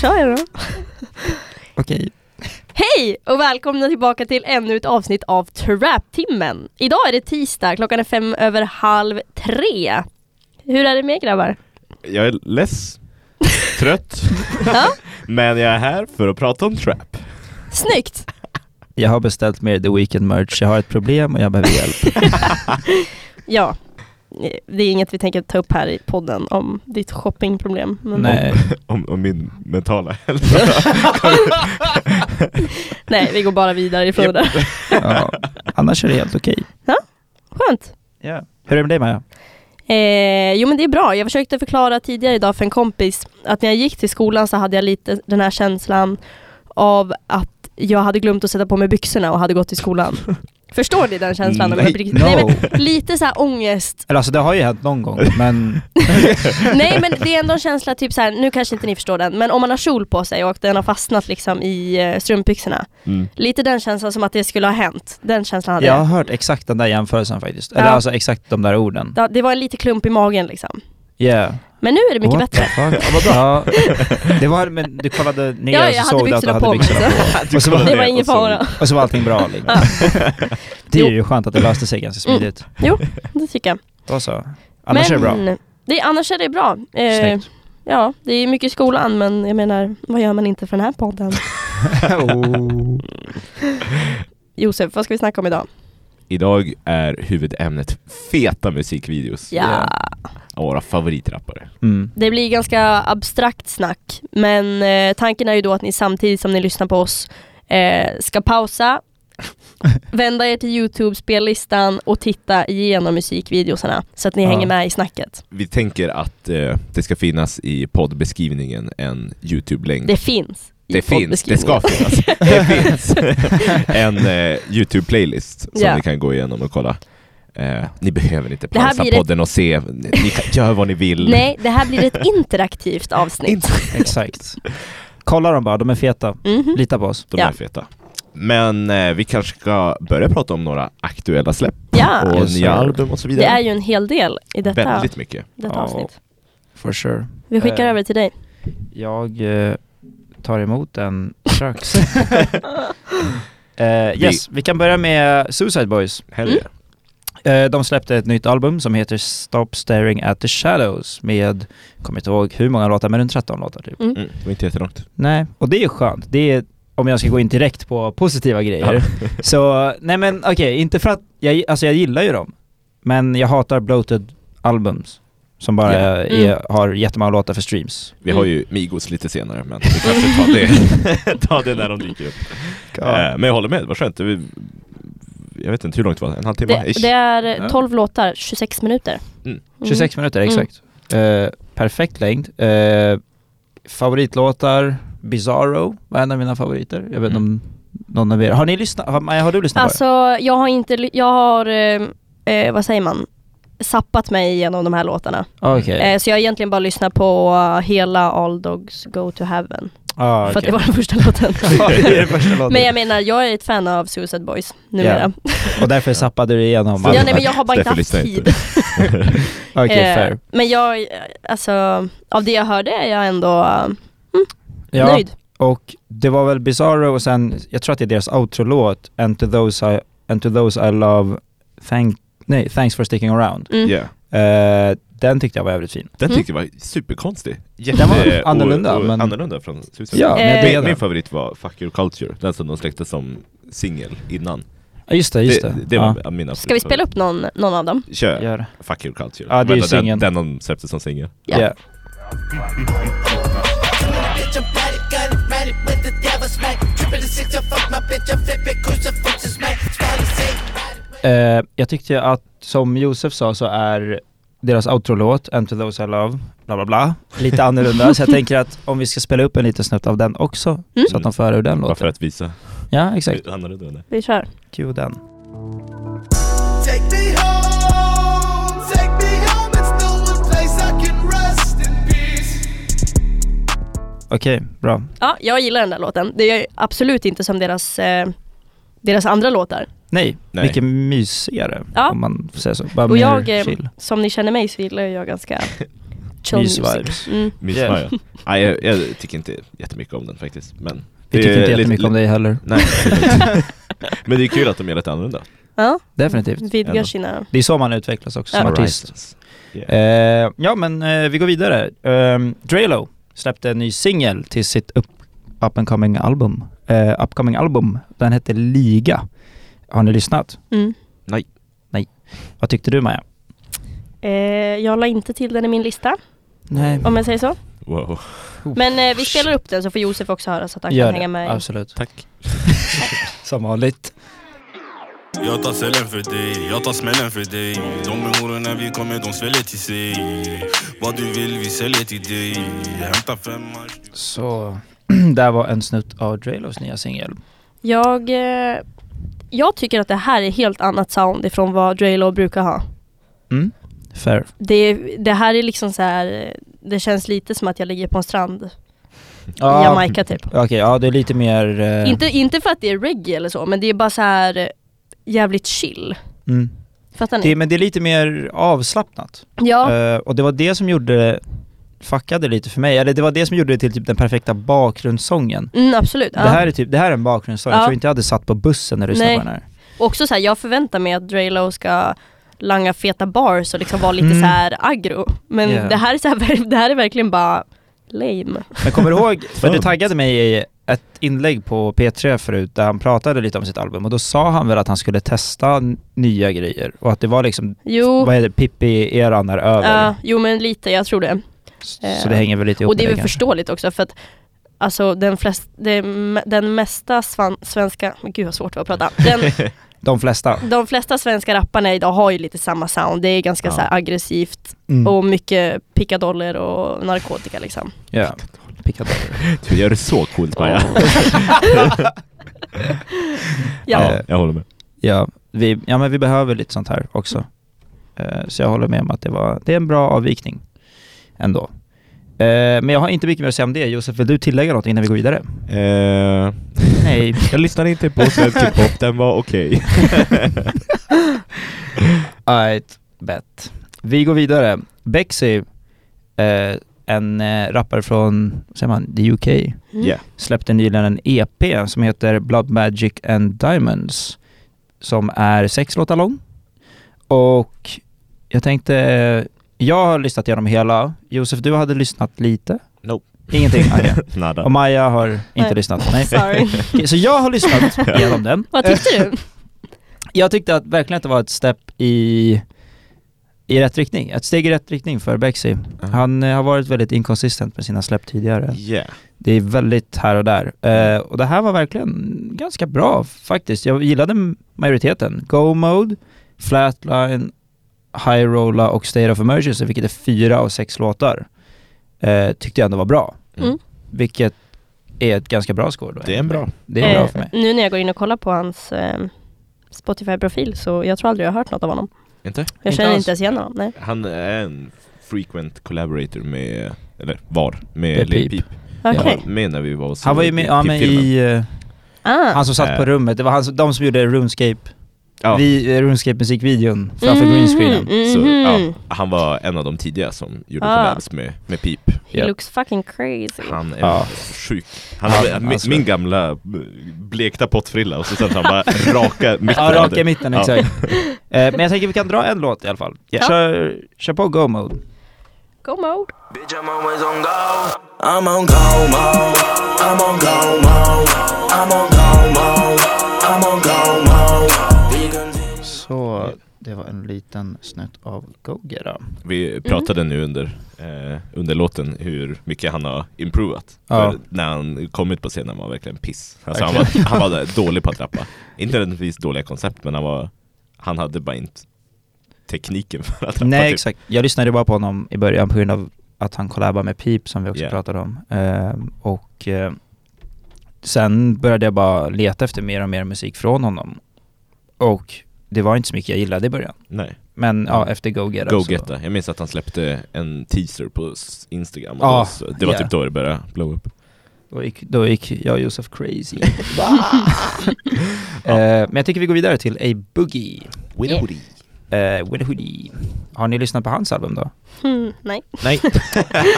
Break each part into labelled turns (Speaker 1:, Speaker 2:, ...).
Speaker 1: kör jag då.
Speaker 2: Okej.
Speaker 1: Hej och välkomna tillbaka till ännu ett avsnitt av Trap-timmen. Idag är det tisdag, klockan är fem över halv tre. Hur är det med er grabbar?
Speaker 3: Jag är less, trött,
Speaker 1: Ja,
Speaker 3: men jag är här för att prata om trap.
Speaker 1: snyggt!
Speaker 2: Jag har beställt mer The Weeknd merch, jag har ett problem och jag behöver hjälp.
Speaker 1: Ja, det är inget vi tänker ta upp här i podden om ditt shoppingproblem. Men
Speaker 2: Nej,
Speaker 3: Om, om min mentala
Speaker 1: nej, vi går bara vidare ifrån det där.
Speaker 2: ja. annars är det helt okej.
Speaker 1: Skönt!
Speaker 2: Ja. Hur är det med dig Maja?
Speaker 1: Eh, jo men det är bra. Jag försökte förklara tidigare idag för en kompis att när jag gick till skolan så hade jag lite den här känslan av att jag hade glömt att sätta på mig byxorna och hade gått till skolan. Förstår ni den känslan? Om jag
Speaker 3: Nej,
Speaker 1: blir- nej,
Speaker 2: No!
Speaker 1: men, lite så här ångest.
Speaker 2: Eller alltså det har ju hänt någon gång, men
Speaker 1: Nej men det är ändå en känsla typ så här, nu kanske inte ni förstår den, men om man har kjol på sig och den har fastnat liksom i eh, strumpbyxorna.
Speaker 3: mm.
Speaker 1: Lite den känslan som att det skulle ha hänt. Den känslan hade
Speaker 2: jag har
Speaker 1: jag.
Speaker 2: hört exakt den där jämförelsen faktiskt. Eller
Speaker 1: Ja.
Speaker 2: alltså exakt de där orden.
Speaker 1: Det- Det var en lite klump i magen liksom.
Speaker 2: Yeah.
Speaker 1: Men nu är det mycket
Speaker 2: What
Speaker 1: bättre.
Speaker 2: the fuck? Ja, vad bra. Ja, det var, men du kollade ner
Speaker 1: Ja,
Speaker 2: och så
Speaker 1: jag hade
Speaker 2: såg du att du
Speaker 1: byxorna
Speaker 2: hade
Speaker 1: på mig.
Speaker 2: byxorna på. Och så var-
Speaker 1: Det var ingen fara.
Speaker 2: Och så var allting bra liksom. Det är ju skönt att det löste sig ganska smidigt.
Speaker 1: Jo, det tycker jag.
Speaker 2: Då så. Annars är det bra.
Speaker 1: Det, annars är det bra. Eh,
Speaker 2: Snyggt.
Speaker 1: ja, det är mycket i skolan men jag menar, vad gör man inte för den här podden?
Speaker 2: oh.
Speaker 1: Josef, vad ska vi snacka om idag?
Speaker 3: Idag är huvudämnet feta musikvideos
Speaker 1: Ja,
Speaker 2: Ja.
Speaker 3: av våra favoritrappare.
Speaker 2: mm.
Speaker 1: det blir ganska abstrakt snack men eh, tanken är ju då att ni samtidigt som ni lyssnar på oss eh, ska pausa, vända er till Youtube-spellistan och titta igenom musikvideorna så att ni
Speaker 2: Ja.
Speaker 1: hänger med i snacket.
Speaker 3: Vi tänker att eh, det ska finnas i poddbeskrivningen en Youtube-länk.
Speaker 1: Det finns. i
Speaker 3: Det finns, det ska
Speaker 1: poddbeskrivningen.
Speaker 3: finnas. Det finns en eh, Youtube-playlist som
Speaker 1: Ja.
Speaker 3: ni kan gå igenom och kolla. Eh, ni behöver inte
Speaker 1: Det här
Speaker 3: pausa
Speaker 1: blir ett-
Speaker 3: podden och se, ni ni kan göra vad ni vill.
Speaker 1: Nej, det här blir ett interaktivt avsnitt.
Speaker 2: Exakt. Kolla dem bara, de är feta.
Speaker 1: Mhm.
Speaker 2: Lita på oss.
Speaker 3: De
Speaker 1: Ja.
Speaker 3: är feta. Men eh, vi kanske ska börja prata om några aktuella släpp
Speaker 1: Ja.
Speaker 3: och
Speaker 2: Yes,
Speaker 3: nya
Speaker 2: sir.
Speaker 3: album och så
Speaker 1: Det
Speaker 3: vidare.
Speaker 1: är ju en hel del i detta,
Speaker 3: Väldigt mycket.
Speaker 1: detta
Speaker 2: Ja.
Speaker 1: avsnitt.
Speaker 2: For sure.
Speaker 1: Vi skickar
Speaker 2: Eh.
Speaker 1: över till dig.
Speaker 2: Jag eh, tar emot en strax. Eh, yes, vi kan börja med Suicide Boys.
Speaker 3: Hellre.
Speaker 1: Mm.
Speaker 2: Eh, de släppte ett nytt album som heter Stop Staring at the Shadows med, kommer inte ihåg hur många låtar, men runt 13 låtar typ.
Speaker 1: Mm.
Speaker 3: Mm. Det var inte jättelångt.
Speaker 2: Nej, och det är skönt. Det är, om jag ska gå in direkt på positiva grejer. Så, nej men okej, inte för att, jag, alltså jag gillar ju dem. Men jag hatar bloated albums. Som bara
Speaker 3: Ja.
Speaker 2: är,
Speaker 1: Mm.
Speaker 2: har jättemånga låtar för streams.
Speaker 3: Vi har ju Migos lite senare men vi kanske tar det, tar det när de dyker upp. Eh, men jag håller med, det var skönt. Det, var- jag vet inte hur långt det var, en halvtimme?
Speaker 1: Det,
Speaker 3: Ish.
Speaker 1: det
Speaker 2: Ja.
Speaker 1: är 12 låtar, 26 minuter.
Speaker 3: Mm.
Speaker 2: 26 minuter, exakt. Eh, perfekt längd. Eh, favoritlåtar, Bizarro var en av mina favoriter. Jag vet inte om någon av er, har ni lyssnat? Har, Maja, har du lyssnat på
Speaker 1: Mm. Alltså, jag har inte, ly- jag har, eh, eh, vad säger man, sappat mig igenom de här låtarna.
Speaker 2: det? Ah, Okej.
Speaker 1: Eh, så jag har egentligen bara lyssnat på eh, hela All Dogs Go To Heaven.
Speaker 2: Ah,
Speaker 1: För att
Speaker 2: okej.
Speaker 1: det var den första låten.
Speaker 2: Ja, det är den första låten.
Speaker 1: men jag menar, jag är ett fan av Suicide Boys numera.
Speaker 2: Och därför zappade du igenom
Speaker 1: Ja,
Speaker 3: Ja,
Speaker 1: nej, men jag har bara inte
Speaker 3: Därför
Speaker 1: haft
Speaker 3: lyssnar jag
Speaker 1: tid.
Speaker 3: inte.
Speaker 2: Okej,
Speaker 1: Eh,
Speaker 2: fair.
Speaker 1: Men jag, eh, alltså, av det jag hörde är jag ändå eh,
Speaker 2: Ja,
Speaker 1: nöjd.
Speaker 2: och det var väl Bizarro och sen, jag tror att det är deras outro-låt, and, to those I- and to those I love, thank, nej, thanks for sticking around.
Speaker 1: Mm.
Speaker 3: Yeah.
Speaker 2: Eh, den tyckte jag var jävligt fin.
Speaker 3: Den
Speaker 1: Mm.
Speaker 3: tyckte jag var superkonstig.
Speaker 2: Den var
Speaker 3: Jätte-
Speaker 2: annorlunda,
Speaker 3: och, och,
Speaker 2: men-
Speaker 3: annorlunda från Suicide.
Speaker 2: Ja,
Speaker 3: Boys.
Speaker 2: men jag
Speaker 1: Eh,
Speaker 2: diggar
Speaker 3: Min, min
Speaker 2: den.
Speaker 3: favorit var Fuck Your Culture, den som de släppte som singel innan.
Speaker 2: Ja, just det, just det.
Speaker 3: det, var mina
Speaker 1: Ska vi spela upp någon, någon av dem?
Speaker 2: ja,
Speaker 3: Kör
Speaker 2: gör det.
Speaker 3: Fuck Your Culture.
Speaker 2: Ja, det är ju
Speaker 3: Vänta,
Speaker 2: singeln.
Speaker 3: den, den de släppte som singel.
Speaker 1: Ja.
Speaker 2: Ja.
Speaker 4: bitch, I'm body gun, ride it with the devil smack. Trippin' the six, I fuck my bitch, I flip it, crucifix is smack. Started say,
Speaker 2: Eh, jag tyckte ju att, som Josef sa så är deras outro-låt, And to those I love, bla bla bla, lite annorlunda. så jag tänker att om vi ska spela upp en liten snutt av den också,
Speaker 1: Mm.
Speaker 2: så att de får höra hur den
Speaker 3: Bara för
Speaker 2: låter.
Speaker 3: att visa
Speaker 2: Ja, exakt.
Speaker 3: hur annorlunda den är.
Speaker 1: Vi kör.
Speaker 2: Cue den.
Speaker 4: take me home, take me home, it's the only place I can rest in peace.
Speaker 2: Okej, bra.
Speaker 1: Ja, jag gillar den där låten. Det är absolut inte som deras, eh, deras andra låtar.
Speaker 2: Nej,
Speaker 3: Nej.
Speaker 2: mycket mysigare
Speaker 1: Ja.
Speaker 2: om man får säga så. Bara
Speaker 1: Och
Speaker 2: mer
Speaker 1: jag, eh,
Speaker 2: chill.
Speaker 1: som ni känner mig så gillar jag ganska chill music.
Speaker 2: Mysvibes.
Speaker 1: Mm.
Speaker 3: Mysmaja. Nej, jag, jag tycker inte jättemycket om den faktiskt. Men
Speaker 2: Vi
Speaker 3: Det
Speaker 2: tycker
Speaker 3: är
Speaker 2: inte
Speaker 3: lite-
Speaker 2: jättemycket om dig heller.
Speaker 3: Nej. Men det är kul att de är lite annorlunda.
Speaker 1: Ja,
Speaker 2: Definitivt.
Speaker 1: vidgar
Speaker 3: Ändå.
Speaker 1: sina...
Speaker 2: Det är så man utvecklas också som
Speaker 1: Mm. Ja.
Speaker 2: artist.
Speaker 3: Horizons.
Speaker 2: Eh, ja men eh, vi går vidare. Eh, Drelo släppte en ny singel till sitt up, up and coming album. Eh, upcoming album. Den hette Liga. Har ni lyssnat?
Speaker 1: Mm.
Speaker 2: Vad tyckte du Maja?
Speaker 1: Eh, jag la inte till den i min lista,
Speaker 2: Nej.
Speaker 1: om jag säger så.
Speaker 3: Wow.
Speaker 1: Men eh, vi spelar upp den så får Josef också höra så att han
Speaker 2: Gör
Speaker 1: kan
Speaker 2: det.
Speaker 1: hänga med. i-
Speaker 2: Absolut.
Speaker 3: Tack.
Speaker 2: Som vanligt.
Speaker 5: Jag tar cellen för dig, jag tar smällen för dig De är horor när vi kommer, de sväljer till sig Vad du vill, vi säljer till dig Hämta femma
Speaker 2: Så, där var en snutt av Drelos nya singel.
Speaker 1: Jag, eh, jag tycker att det här är helt annat sound ifrån vad Draylo brukar ha.
Speaker 2: Mm. Fair.
Speaker 1: Det, det här är liksom så här, eh, det känns lite som att jag ligger på en strand i
Speaker 2: Ja,
Speaker 1: Jamaica typ.
Speaker 2: Okej, ja det är lite mer... eh,
Speaker 1: Inte, inte för att det är reggae eller så, men det är bara så här eh, jävligt chill.
Speaker 2: Mm.
Speaker 1: Fattar ni?
Speaker 2: Det, men det är lite mer avslappnat.
Speaker 1: ja,
Speaker 2: Eh, och det var det som gjorde det, fuckade lite för mig, eller det var det som gjorde det till typ den perfekta bakgrundssången.
Speaker 1: mm, absolut.
Speaker 2: Det,
Speaker 1: ja.
Speaker 2: här är typ, det här är en bakgrundssång, jag
Speaker 1: Ja.
Speaker 2: tror inte jag hade satt på bussen när du lyssnade
Speaker 1: Nej.
Speaker 2: på den här.
Speaker 1: Också så här, jag förväntar mig att Draylo ska langa feta bars och liksom vara lite
Speaker 2: Mm.
Speaker 1: så här aggro. Men
Speaker 2: Yeah.
Speaker 1: det, här är så här, det här är verkligen bara lame.
Speaker 2: Men kommer du ihåg, för du
Speaker 3: Skönt.
Speaker 2: taggade mig i ett inlägg på P3 förut där han pratade lite om sitt album och då sa han väl att han skulle testa n- nya grejer och att det var liksom,
Speaker 1: Jo,
Speaker 2: vad är det, Pippi-eran är över.
Speaker 1: ja, jo men lite, jag tror det.
Speaker 2: S-
Speaker 1: eh,
Speaker 2: Så det hänger väl lite ihop
Speaker 1: och det är
Speaker 2: med
Speaker 1: väl förståeligt också för att Alltså den, flest, den, den mesta svan, svenska, men gud vad svårt det var att prata. Den,
Speaker 2: De flesta.
Speaker 1: de flesta svenska rapparna idag har ju lite samma sound. Det är ganska
Speaker 3: Ja.
Speaker 1: så här aggressivt
Speaker 2: Mm.
Speaker 1: och mycket pickadoller och narkotika liksom.
Speaker 2: Ja. Pickadoller.
Speaker 3: Du gör det så coolt Maja.
Speaker 1: Ja.
Speaker 3: Ja, jag håller med.
Speaker 2: Ja, vi, ja, men vi behöver lite sånt här också. Eh, så jag håller med om att det, var, det är en bra avvikning ändå. Eh, men jag har inte mycket mer att säga om det. Josef, vill du tillägga något innan vi går vidare?
Speaker 3: Eh,
Speaker 2: Nej.
Speaker 3: jag lyssnade inte på svensk hiphop, den var okej.
Speaker 2: Mm. Alright, Eh, bet. Vi går vidare. Bexy, eh, en eh, rappare från, vad säger man, the UK,
Speaker 1: Mm.
Speaker 3: Yeah.
Speaker 2: släppte nyligen en EP som heter Blood Magic and Diamonds, som är sex låtar lång. Och jag tänkte, eh, jag har lyssnat igenom hela. Josef, du hade lyssnat lite?
Speaker 3: Nope.
Speaker 2: Ingenting? okej.
Speaker 3: Nada.
Speaker 2: Och Maja har inte
Speaker 1: Nej.
Speaker 2: lyssnat? Nej.
Speaker 1: Sorry.
Speaker 2: Okej, så jag har lyssnat igenom den.
Speaker 1: Vad tyckte du?
Speaker 2: Jag tyckte att verkligen att det var ett step i, i rätt riktning, ett steg i rätt riktning för Bexy. Han eh, har varit väldigt inconsistent med sina släpp tidigare.
Speaker 3: Yeah.
Speaker 2: Det är väldigt här och där. Eh,
Speaker 3: Mm.
Speaker 2: och det här var verkligen ganska bra faktiskt. Jag gillade m- majoriteten. Go Mode, Flatline, High Roller och State of Emergency, vilket är fyra av sex låtar, eh, tyckte jag ändå var bra.
Speaker 1: Mm.
Speaker 2: Vilket är ett ganska bra score då.
Speaker 3: Det är en bra.
Speaker 2: Det är bra
Speaker 1: Eh,
Speaker 2: för mig.
Speaker 1: Nu när jag går in och kollar på hans eh, Spotify-profil så jag tror aldrig jag har hört något av honom.
Speaker 3: Inte?
Speaker 1: Jag
Speaker 2: Inte
Speaker 1: känner
Speaker 2: alls.
Speaker 1: inte ens igen honom. Nej.
Speaker 3: Han är en frequent collaborator med, eller var,
Speaker 2: Med
Speaker 3: med Lil
Speaker 2: Peep.
Speaker 1: Okej.
Speaker 3: Peep. Han var med när vi var och såg
Speaker 2: Han var ju med, ja, men
Speaker 3: Peep-filmen.
Speaker 2: i... eh,
Speaker 1: Ah.
Speaker 2: Han som satt på
Speaker 3: Eh.
Speaker 2: rummet, det var han, som- de som gjorde RuneScape,
Speaker 3: Ja.
Speaker 2: vi, eh, RuneScape musikvideon framför
Speaker 1: Mhm,
Speaker 2: greenscreenen.
Speaker 1: mhm.
Speaker 3: Så,
Speaker 2: Mm-hmm.
Speaker 3: ja, han var en av de tidiga som gjorde
Speaker 1: Ah.
Speaker 3: collabs med, med Peep.
Speaker 1: He looks fucking crazy.
Speaker 3: Han är
Speaker 2: Ja.
Speaker 3: sjuk. Han
Speaker 2: Ja,
Speaker 3: hade min,
Speaker 2: alltså.
Speaker 3: min gamla eh, blekta pottfrilla och så sen han bara raka mitten.
Speaker 2: Ja, raka i mitten,
Speaker 3: Ja.
Speaker 2: exakt. eh, men jag tänker vi kan dra en låt i alla fall.
Speaker 3: Ja.
Speaker 2: Kör, kör på Go Mode.
Speaker 1: Go mode.
Speaker 6: Bitch, I'm always on go. I'm on go mode. I'm on go mode. I'm on go mode. I'm on go mode. We continue.
Speaker 2: Så, det var en liten snutt av Gogera.
Speaker 3: Vi pratade nu under, eh, under låten hur mycket han har improvat.
Speaker 2: Ja.
Speaker 3: För när han kom ut på scenen var han verkligen piss. Alltså han, var, han var dålig på att rappa. Inte nödvändigtvis dåliga koncept men han var, han hade bara inte tekniken för att rappa.
Speaker 2: Nej
Speaker 3: typ.
Speaker 2: exakt, jag lyssnade bara på honom i början på grund av att han kollabade med Pip som vi också
Speaker 3: Yeah.
Speaker 2: pratade om. Ehm, och eh, sen började jag bara leta efter mer och mer musik från honom. Och det var inte så mycket jag gillade i början.
Speaker 3: Nej.
Speaker 2: Men ja, efter Go Get
Speaker 3: Go
Speaker 2: så-
Speaker 3: Getta. Jag minns att han släppte en teaser på s- Instagram. och
Speaker 2: Ja,
Speaker 3: då så- det var
Speaker 2: yeah.
Speaker 3: typ då det började blow up.
Speaker 2: Då gick, då gick jag och Josef crazy. Eh, men jag tycker vi går vidare till A Boogie.
Speaker 3: Winnie
Speaker 1: Yeah.
Speaker 3: Woody.
Speaker 2: Uh, with a hoodie. Har ni lyssnat på hans album då?
Speaker 1: Hmm, nej.
Speaker 3: Nej.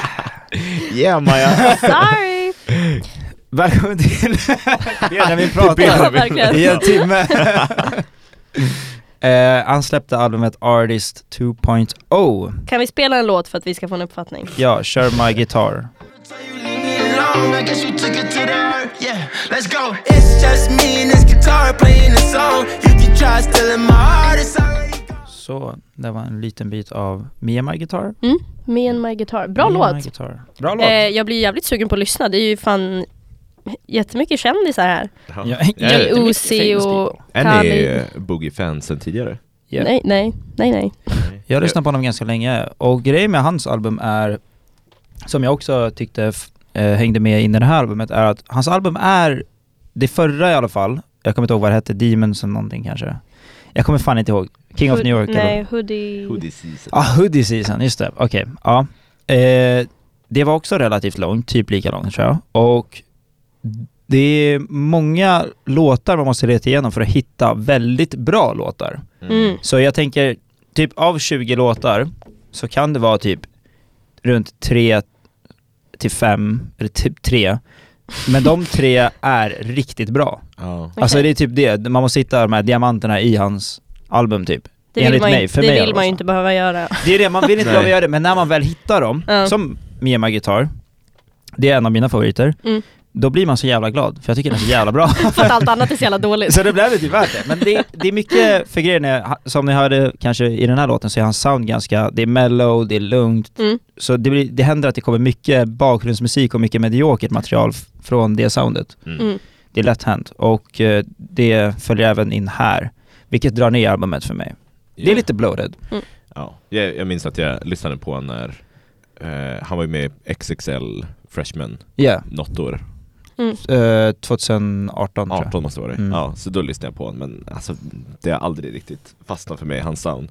Speaker 3: yeah Maja.
Speaker 1: Sorry!
Speaker 2: Välkommen till... det är när vi
Speaker 1: Ja,
Speaker 2: pratar
Speaker 1: verkligen.
Speaker 2: i en timme. Eh, han släppte albumet Artist oh. 2.0.
Speaker 1: Kan vi spela en låt för att vi ska få en uppfattning?
Speaker 2: Ja, kör My Guitar.
Speaker 6: I guess you took it to the heart. Yeah, let's go. It's just me and this guitar playing a song. You can try stealing my heart. It's already gone.
Speaker 2: Så, det var en liten bit av Mia My Guitar.
Speaker 1: Mm? Me and my guitar. Bra
Speaker 2: Me and My
Speaker 1: låt!
Speaker 2: Guitar. Bra låt!
Speaker 1: Eh, jag blir jävligt sugen på att lyssna, det är ju fan jättemycket kändisar här.
Speaker 2: Ja,
Speaker 3: Jag vet inte.
Speaker 1: Ozzy och
Speaker 3: Är ni
Speaker 1: Khalid.
Speaker 3: eh, boogie-fans sen tidigare?
Speaker 2: Yeah.
Speaker 1: Nej, nej, nej, nej.
Speaker 2: Jag har lyssnat på honom ganska länge och grejen med hans album är, som jag också tyckte f- eh, hängde med in i det här albumet, är att hans album är, det förra i alla fall, jag kommer inte ihåg vad det hette, Demons eller någonting kanske. Jag kommer fan inte ihåg. King of
Speaker 1: Hood-
Speaker 2: New York eller?
Speaker 1: Nej, Hoodie.
Speaker 3: Hoodie season.
Speaker 2: Ja, ah, Hoodie Season, just det. Okej, ja. Eh, det var också relativt långt, typ lika långt tror jag. Och det är många låtar man måste leta igenom för att hitta väldigt bra låtar.
Speaker 1: Mm.
Speaker 2: Så jag tänker, typ av 20 låtar så kan det vara typ runt 3 till 5, eller typ 3. Men de tre är riktigt bra.
Speaker 3: Ja.
Speaker 1: Okej.
Speaker 2: Alltså det är typ det, man måste hitta de här diamanterna i hans album typ.
Speaker 1: det vill
Speaker 2: enligt
Speaker 1: man, ju-
Speaker 2: mig, för
Speaker 1: det
Speaker 2: mig i
Speaker 1: vill
Speaker 2: alla
Speaker 1: man ju
Speaker 2: fall.
Speaker 1: inte behöva göra.
Speaker 2: Det är det, man vill inte
Speaker 3: Nej.
Speaker 2: behöva göra det, men när man väl hittar dem,
Speaker 1: Ja.
Speaker 2: som Mema Guitar, det är en av mina favoriter,
Speaker 1: Mm.
Speaker 2: då blir man så jävla glad, för jag tycker den är så jävla bra.
Speaker 1: För att allt annat är så jävla dåligt.
Speaker 2: Så det blev det typ värt det. Men det, det är mycket, för grejen är, som ni hörde kanske i den här låten så är hans sound ganska, det är mellow, det är lugnt.
Speaker 1: Mm.
Speaker 2: Så det, blir, det händer att det kommer mycket bakgrundsmusik och mycket mediokert material f- från det soundet.
Speaker 1: Mm.
Speaker 2: Det är lätt hänt och eh, det följer även in här, vilket drar ner albumet för mig. Det är lite bloated.
Speaker 3: Ja. Jag, jag minns att jag lyssnade på honom när eh, han var ju med i XXL Freshman
Speaker 2: Ja,
Speaker 3: något år.
Speaker 1: mm,
Speaker 2: Eh, 2018 tror jag.
Speaker 3: 18 måste det vara det.
Speaker 2: Mm.
Speaker 3: Ja, så då lyssnade jag på honom men alltså det har aldrig riktigt fastnat för mig, hans sound.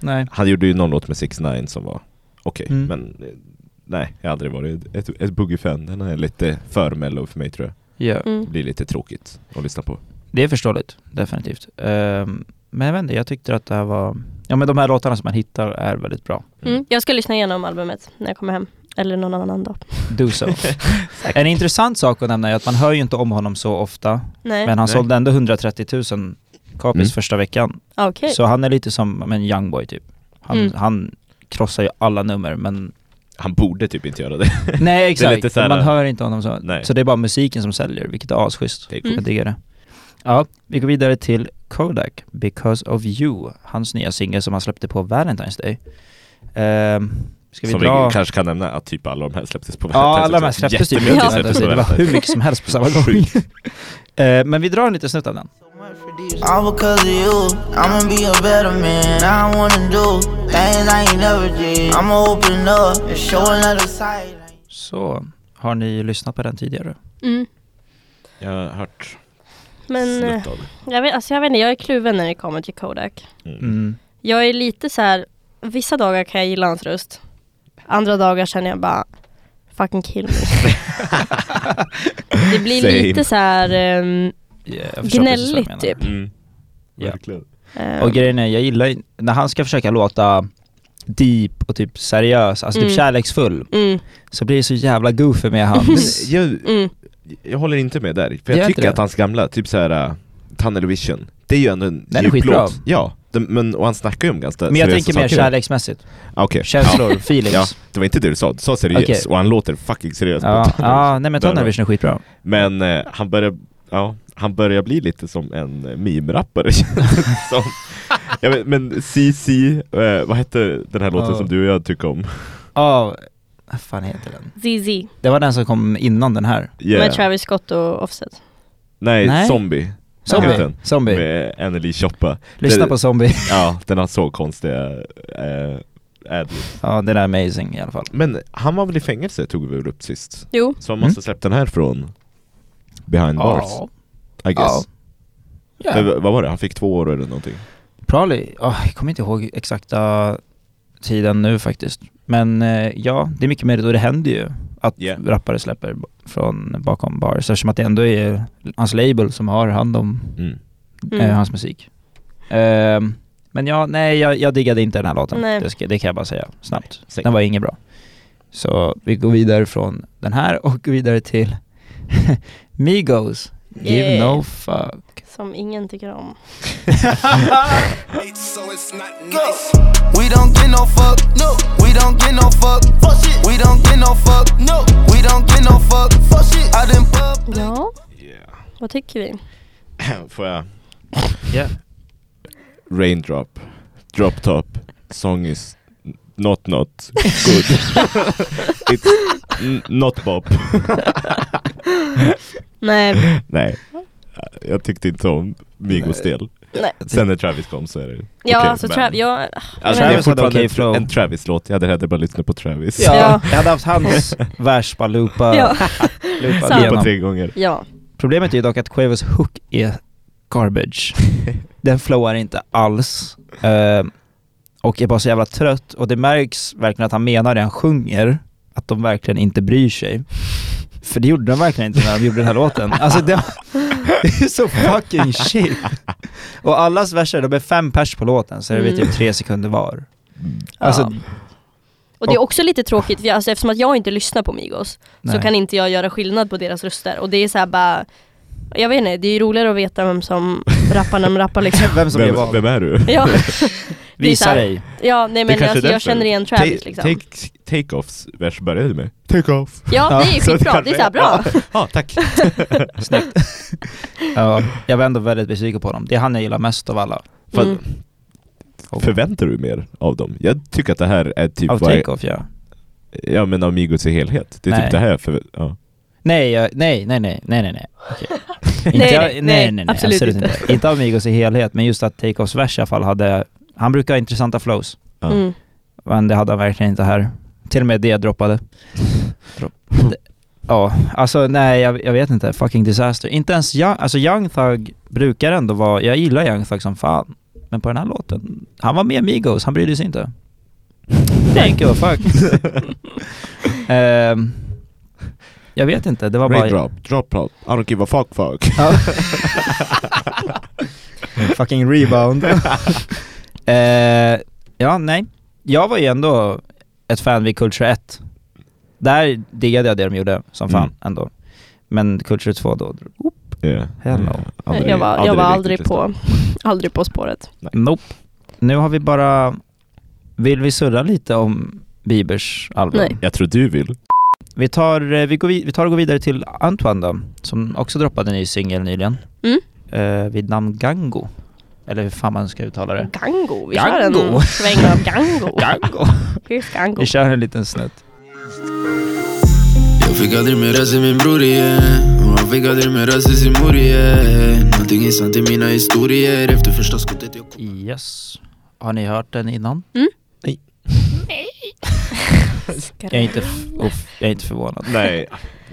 Speaker 2: Nej.
Speaker 3: Han gjorde ju någon låt med 6 9 som var okej,
Speaker 2: Mm.
Speaker 3: men eh, nej, jag har aldrig varit ett, ett boogie-fan. Den är lite för mellow för mig tror jag.
Speaker 2: Ja.
Speaker 1: Mm.
Speaker 3: Det blir lite tråkigt att lyssna på.
Speaker 2: Det är förståeligt, definitivt. Ehm, men jag vet inte, jag tyckte att det här var... Ja men de här låtarna som man hittar är väldigt bra.
Speaker 1: Mm. Jag ska lyssna igenom albumet när jag kommer hem. Eller någon annan dag.
Speaker 2: Do so. en intressant sak att nämna är att man hör ju inte om honom så ofta,
Speaker 1: Nej,
Speaker 2: men han
Speaker 3: Nej.
Speaker 2: sålde ändå 130 000 copies
Speaker 3: Mm.
Speaker 2: första veckan.
Speaker 1: Ah, okej.
Speaker 2: Så han är lite som ja, en youngboy typ. Han,
Speaker 1: Mm.
Speaker 2: han krossar ju alla nummer men...
Speaker 3: Han borde typ inte göra det.
Speaker 2: Nej
Speaker 3: lite
Speaker 2: exakt,
Speaker 3: så här-
Speaker 2: man hör inte honom så.
Speaker 3: Nej.
Speaker 2: Så det är bara musiken som säljer, vilket är asschysst.
Speaker 3: Det är
Speaker 1: coolt.
Speaker 2: Jag diggar det. Ja, vi går vidare till Kodak, Because of you, hans nya singel som han släppte på Valentine's Day. Ehm, ska vi
Speaker 3: som
Speaker 2: dra...
Speaker 3: vi kanske kan nämna att typ alla de här släpptes på
Speaker 2: Ja,
Speaker 3: Valentine's
Speaker 2: alla de här
Speaker 3: Day.
Speaker 2: släpptes typ
Speaker 3: Jättemycket
Speaker 1: Ja.
Speaker 2: släpptes
Speaker 3: släpptes på
Speaker 2: Det var hur
Speaker 3: Valentine's
Speaker 2: mycket som helst på samma gång.
Speaker 3: Sjukt.
Speaker 2: Eh, men vi drar en liten snutt av den.
Speaker 6: All because of you, I'ma be a better man. I wanna do things I ain't never did. I'ma open up and show another side.
Speaker 2: Så, har ni lyssnat på den tidigare?
Speaker 1: Mm.
Speaker 3: Jag har hört
Speaker 1: Men eh,
Speaker 3: snutt av det.
Speaker 1: jag vet, alltså jag vet inte, jag är kluven när det kommer till Kodak.
Speaker 2: Mm.
Speaker 1: Jag är lite så här. vissa dagar kan jag gilla hans röst. Andra dagar känner jag bara, fucking kill me. det blir
Speaker 3: Same.
Speaker 1: lite så här. ehm,
Speaker 2: Yeah, jag förstår precis vad du
Speaker 1: Gnälligt,
Speaker 2: menar. Mm.
Speaker 1: typ.
Speaker 3: Mm.
Speaker 2: Ja.
Speaker 3: Verkligen.
Speaker 1: ehm,
Speaker 2: Och grejen är, jag gillar ju- när han ska försöka låta deep och typ seriös, alltså
Speaker 1: Mm.
Speaker 2: typ kärleksfull,
Speaker 1: mm,
Speaker 2: så blir det så jävla goofy med hans...
Speaker 3: Jag,
Speaker 1: mm.
Speaker 3: jag håller inte med där, för
Speaker 2: Gör
Speaker 3: jag
Speaker 2: inte
Speaker 3: tycker
Speaker 2: det?
Speaker 3: att hans gamla, typ såhär uh, Tunnel Vision, det är ju ändå en
Speaker 2: Den är
Speaker 3: djup
Speaker 2: skitbra.
Speaker 3: låt. Ja, den, men, och han snackar ju om ganska
Speaker 2: Men jag
Speaker 3: seriösa
Speaker 2: tänker mer
Speaker 3: saker.
Speaker 2: kärleksmässigt.
Speaker 3: Ah, okej.
Speaker 2: Känslor,
Speaker 3: Ja.
Speaker 2: feelings.
Speaker 3: Ja, det var inte det du sa, du sa seriös
Speaker 2: Okej.
Speaker 3: och han låter fucking seriös på
Speaker 2: Ja,
Speaker 3: Tunnel
Speaker 2: ja,
Speaker 3: Vision.
Speaker 2: nej men
Speaker 3: Där
Speaker 2: Tunnel
Speaker 3: då.
Speaker 2: Vision är skitbra.
Speaker 3: Men eh, han börjar, ja, han börjar bli lite som en eh, meme-rappare känns det som. ja, men, men CC, eh, vad hette den här låten
Speaker 2: Ja.
Speaker 3: som du och jag tycker om?
Speaker 2: Ja, vad fan heter den?
Speaker 1: ZZ
Speaker 2: Det var den som kom innan den här.
Speaker 3: Yeah.
Speaker 1: med Travis Scott och Offset.
Speaker 3: Nej,
Speaker 2: Nej.
Speaker 3: Zombie
Speaker 2: Zombie.
Speaker 3: den.
Speaker 2: Zombie.
Speaker 3: med Anneli Choppa.
Speaker 2: Lyssna
Speaker 3: Det-
Speaker 2: på Zombie.
Speaker 3: Ja, den har så konstiga eh, ad-libs.
Speaker 2: ja, den är amazing i alla fall.
Speaker 3: Men han var väl i fängelse tog vi väl upp sist?
Speaker 1: Jo,
Speaker 3: Så han måste
Speaker 2: Mm.
Speaker 3: ha släppt den här från behind bars, I guess.
Speaker 2: Ja.
Speaker 3: Men v- vad var det? Han fick två år eller någonting?
Speaker 2: Probably, Ah, jag kommer inte ihåg exakta tiden nu faktiskt. Men eh, ja, det är mycket mer då det händer ju att
Speaker 3: Yeah.
Speaker 2: rappare släpper b- från bakom bars eftersom att det ändå är Eh, hans label som har hand om
Speaker 3: Mm.
Speaker 1: Mm.
Speaker 2: eh, hans musik. Ehm, Men ja, nej jag, jag diggade inte den här låten.
Speaker 1: Nej.
Speaker 2: Det, ska, det kan jag bara säga snabbt.
Speaker 3: säg.
Speaker 2: Den var ingen bra. Så vi går vidare från den här och vidare till Migos. Give
Speaker 1: Yeah.
Speaker 2: no fuck.
Speaker 1: Som ingen tycker om.
Speaker 6: We don't get no fuck, no. We don't get no fuck, fuck shit. We don't get no fuck, no. We don't get no fuck, fuck shit. I done pub.
Speaker 1: Ja,
Speaker 3: Yeah.
Speaker 1: vad tycker vi?
Speaker 3: Får jag?
Speaker 2: Yeah.
Speaker 3: Raindrop, drop top, song is n- not not good. It's n- not bop.
Speaker 1: Nej,
Speaker 3: Nej, jag tyckte inte om Migos del.
Speaker 1: nej.
Speaker 3: Sen när Travis kom så är det
Speaker 1: Ja,
Speaker 3: okej,
Speaker 1: alltså
Speaker 3: men-
Speaker 1: Trav, jag,
Speaker 3: Alltså, det är
Speaker 2: Travis hade
Speaker 3: fortfarande
Speaker 2: okej flow.
Speaker 3: en, en Travis-låt, jag hade hellre bara lyssnat på Travis.
Speaker 1: Ja.
Speaker 2: Jag hade haft hans vers bara loopa,
Speaker 1: ja,
Speaker 2: loopa
Speaker 1: Sant.
Speaker 2: igenom.
Speaker 3: På tre gånger.
Speaker 1: ja.
Speaker 2: Problemet är ju dock att Quavos hook är garbage. Den flowar inte alls. Eh, och är bara så jävla trött. Och det märks verkligen att han menar det han sjunger. Att de verkligen inte bryr sig. För det gjorde de verkligen inte när de gjorde den här låten. Alltså det, det är så fucking shit. Och allas verser, de är fem pers på låten så det är
Speaker 1: Mm.
Speaker 2: typ tre sekunder var. Alltså,
Speaker 1: Ja. Och det är också lite tråkigt, för jag, alltså, eftersom att jag inte lyssnar på Migos så
Speaker 2: nej.
Speaker 1: kan inte jag göra skillnad på deras röster. Och det är så här bara, jag vet inte, det är ju roligare att veta vem som rappar när de rappar liksom.
Speaker 2: Vem som gör
Speaker 3: Vem,
Speaker 2: vad.
Speaker 3: vem är du?
Speaker 1: Ja, det är så
Speaker 2: Visa
Speaker 1: här-
Speaker 2: dig.
Speaker 1: ja nej
Speaker 3: Det
Speaker 1: men
Speaker 3: kanske är
Speaker 1: alltså, jag
Speaker 3: därför.
Speaker 1: känner igen Travis
Speaker 3: Ta-
Speaker 1: liksom.
Speaker 3: Take, take-offs vers började med. Take-off.
Speaker 1: Ja, det är ju
Speaker 3: Så det
Speaker 1: skitbra, det
Speaker 3: kanske
Speaker 1: är såhär
Speaker 3: är-
Speaker 1: bra. Mm.
Speaker 3: Ja, tack.
Speaker 2: Ja, jag var ändå väldigt besviken på dem. Det är han jag gillar mest av alla.
Speaker 3: Fast-
Speaker 1: Mm.
Speaker 3: Förväntar du mer av dem? Jag tycker att det här är typ
Speaker 2: Av
Speaker 3: vad jag-
Speaker 2: Takeoff ja.
Speaker 3: Ja men av Migos i helhet. Det är
Speaker 2: Nej.
Speaker 3: typ det här för... Ja.
Speaker 2: Nej, jag, nej, nej, nej, nej, nej, nej. Okej. inte,
Speaker 1: Nej,
Speaker 2: jag-
Speaker 1: nej,
Speaker 2: nej, nej,
Speaker 1: nej,
Speaker 2: nej,
Speaker 1: absolut
Speaker 2: absolut, inte.
Speaker 1: inte.
Speaker 2: inte. av Migos i helhet, men just att Takeoffs vers i alla fall hade, han brukar ha intressanta flows,
Speaker 3: Ja.
Speaker 1: Mm.
Speaker 2: men det hade han verkligen inte här. Till och med det droppade. Dropp. Det- Ja, alltså nej, jag, jag vet inte. Fucking disaster. Inte ens Young, alltså Young Thug brukar ändå vara, jag gillar Young Thug som fan, men på den här låten, han var med Migos, han brydde sig inte. Thank you, fuck. Ehm, jag vet inte, det var bara...
Speaker 3: Raindrop, drop drop, I don't give a fuck fuck.
Speaker 2: Ja. Fucking rebound. eh, ja, nej. Jag var ju ändå ett fan vid Culture 1. Där diggade jag det de gjorde som fan
Speaker 3: Mm.
Speaker 2: ändå. Men Culture 2 då,
Speaker 3: Yeah.
Speaker 2: hell no.
Speaker 3: Aldrig-
Speaker 1: jag var, jag var aldrig
Speaker 3: riktigt
Speaker 1: på, aldrig på spåret.
Speaker 2: Nope. Nu har vi bara... Vill vi surra lite om Biebers album?
Speaker 1: Nej.
Speaker 3: Jag tror du vill.
Speaker 2: Vi tar, eh, vi, går vid, vi tar och går vidare till Antoine då, som också droppade en ny singel nyligen.
Speaker 1: Mm.
Speaker 2: Eh, vid namn Gango. Eller hur fan man ska uttala det.
Speaker 1: Gango, vi kör
Speaker 2: Gango.
Speaker 1: en sväng av Gango.
Speaker 2: Gango.
Speaker 1: Here's Gango.
Speaker 2: Vi kör en liten snutt.
Speaker 7: Jag fick aldrig mer röst än min bror
Speaker 5: eh.
Speaker 7: igen Och han fick aldrig mer röst än sin mor igen Någonting är sant i mina
Speaker 5: eh.
Speaker 7: historier Efter första skottet jag
Speaker 2: Yes. Har ni hört den innan?
Speaker 1: Mm.
Speaker 2: Jag är inte, f- uff, jag är inte förvånad.
Speaker 3: Nej,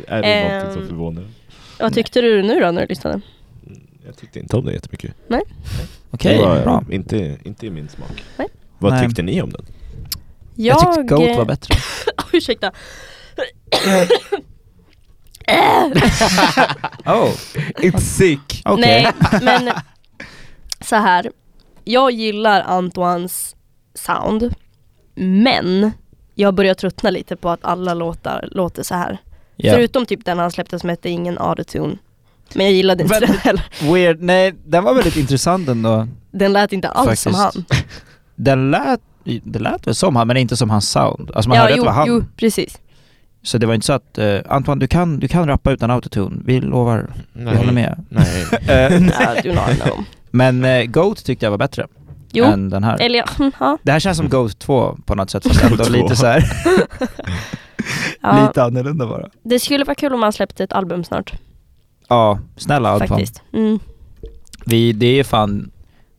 Speaker 3: är det
Speaker 1: Ehm.
Speaker 3: någonting som förvånar?
Speaker 1: Vad tyckte du nu då när du lyssnade?
Speaker 3: Jag tyckte inte om den jättemycket.
Speaker 2: Okej,
Speaker 3: Det var, eh,
Speaker 2: bra.
Speaker 3: Inte, inte i min smak.
Speaker 1: Nej.
Speaker 3: Vad
Speaker 2: Nej.
Speaker 3: tyckte ni om den?
Speaker 2: Jag, tyckte Goat var bättre.
Speaker 1: Ursäkta.
Speaker 2: Oh,
Speaker 3: It's sick!
Speaker 2: okej.
Speaker 1: Nej, men så här. Jag gillar Antoines sound, men jag börjar tröttna lite på att alla låtar låter så här.
Speaker 2: Ja.
Speaker 1: Förutom typ den han släppte som hette Ingen autotune. Men jag gillade inte
Speaker 2: Men-
Speaker 1: den heller.
Speaker 2: Weird. Nej, den var väldigt intressant ändå.
Speaker 1: Den lät inte alls som han.
Speaker 2: Faktiskt. Den lät, det lät väl som han, men inte som hans sound. Alltså man hörde att det var han.
Speaker 1: jo, precis.
Speaker 2: Så det var inte så att, eh, Antoine du kan, du kan rappa utan autotune, vi lovar, vi håller med.
Speaker 3: Nej.
Speaker 2: Eh,
Speaker 1: Ja, do not know.
Speaker 2: men eh, Goat tyckte jag var bättre
Speaker 1: Jo,
Speaker 2: än den här.
Speaker 1: eller ja. mm, ja.
Speaker 2: Det här känns som Goat 2 på något sätt, fast ändå
Speaker 3: Goat 2.
Speaker 2: lite så här,
Speaker 1: ja.
Speaker 2: lite annorlunda bara.
Speaker 1: Det skulle vara kul om han släppte ett album snart.
Speaker 2: Ja, snälla Antoine.
Speaker 1: faktiskt. Mm.
Speaker 2: Vi, det är fan,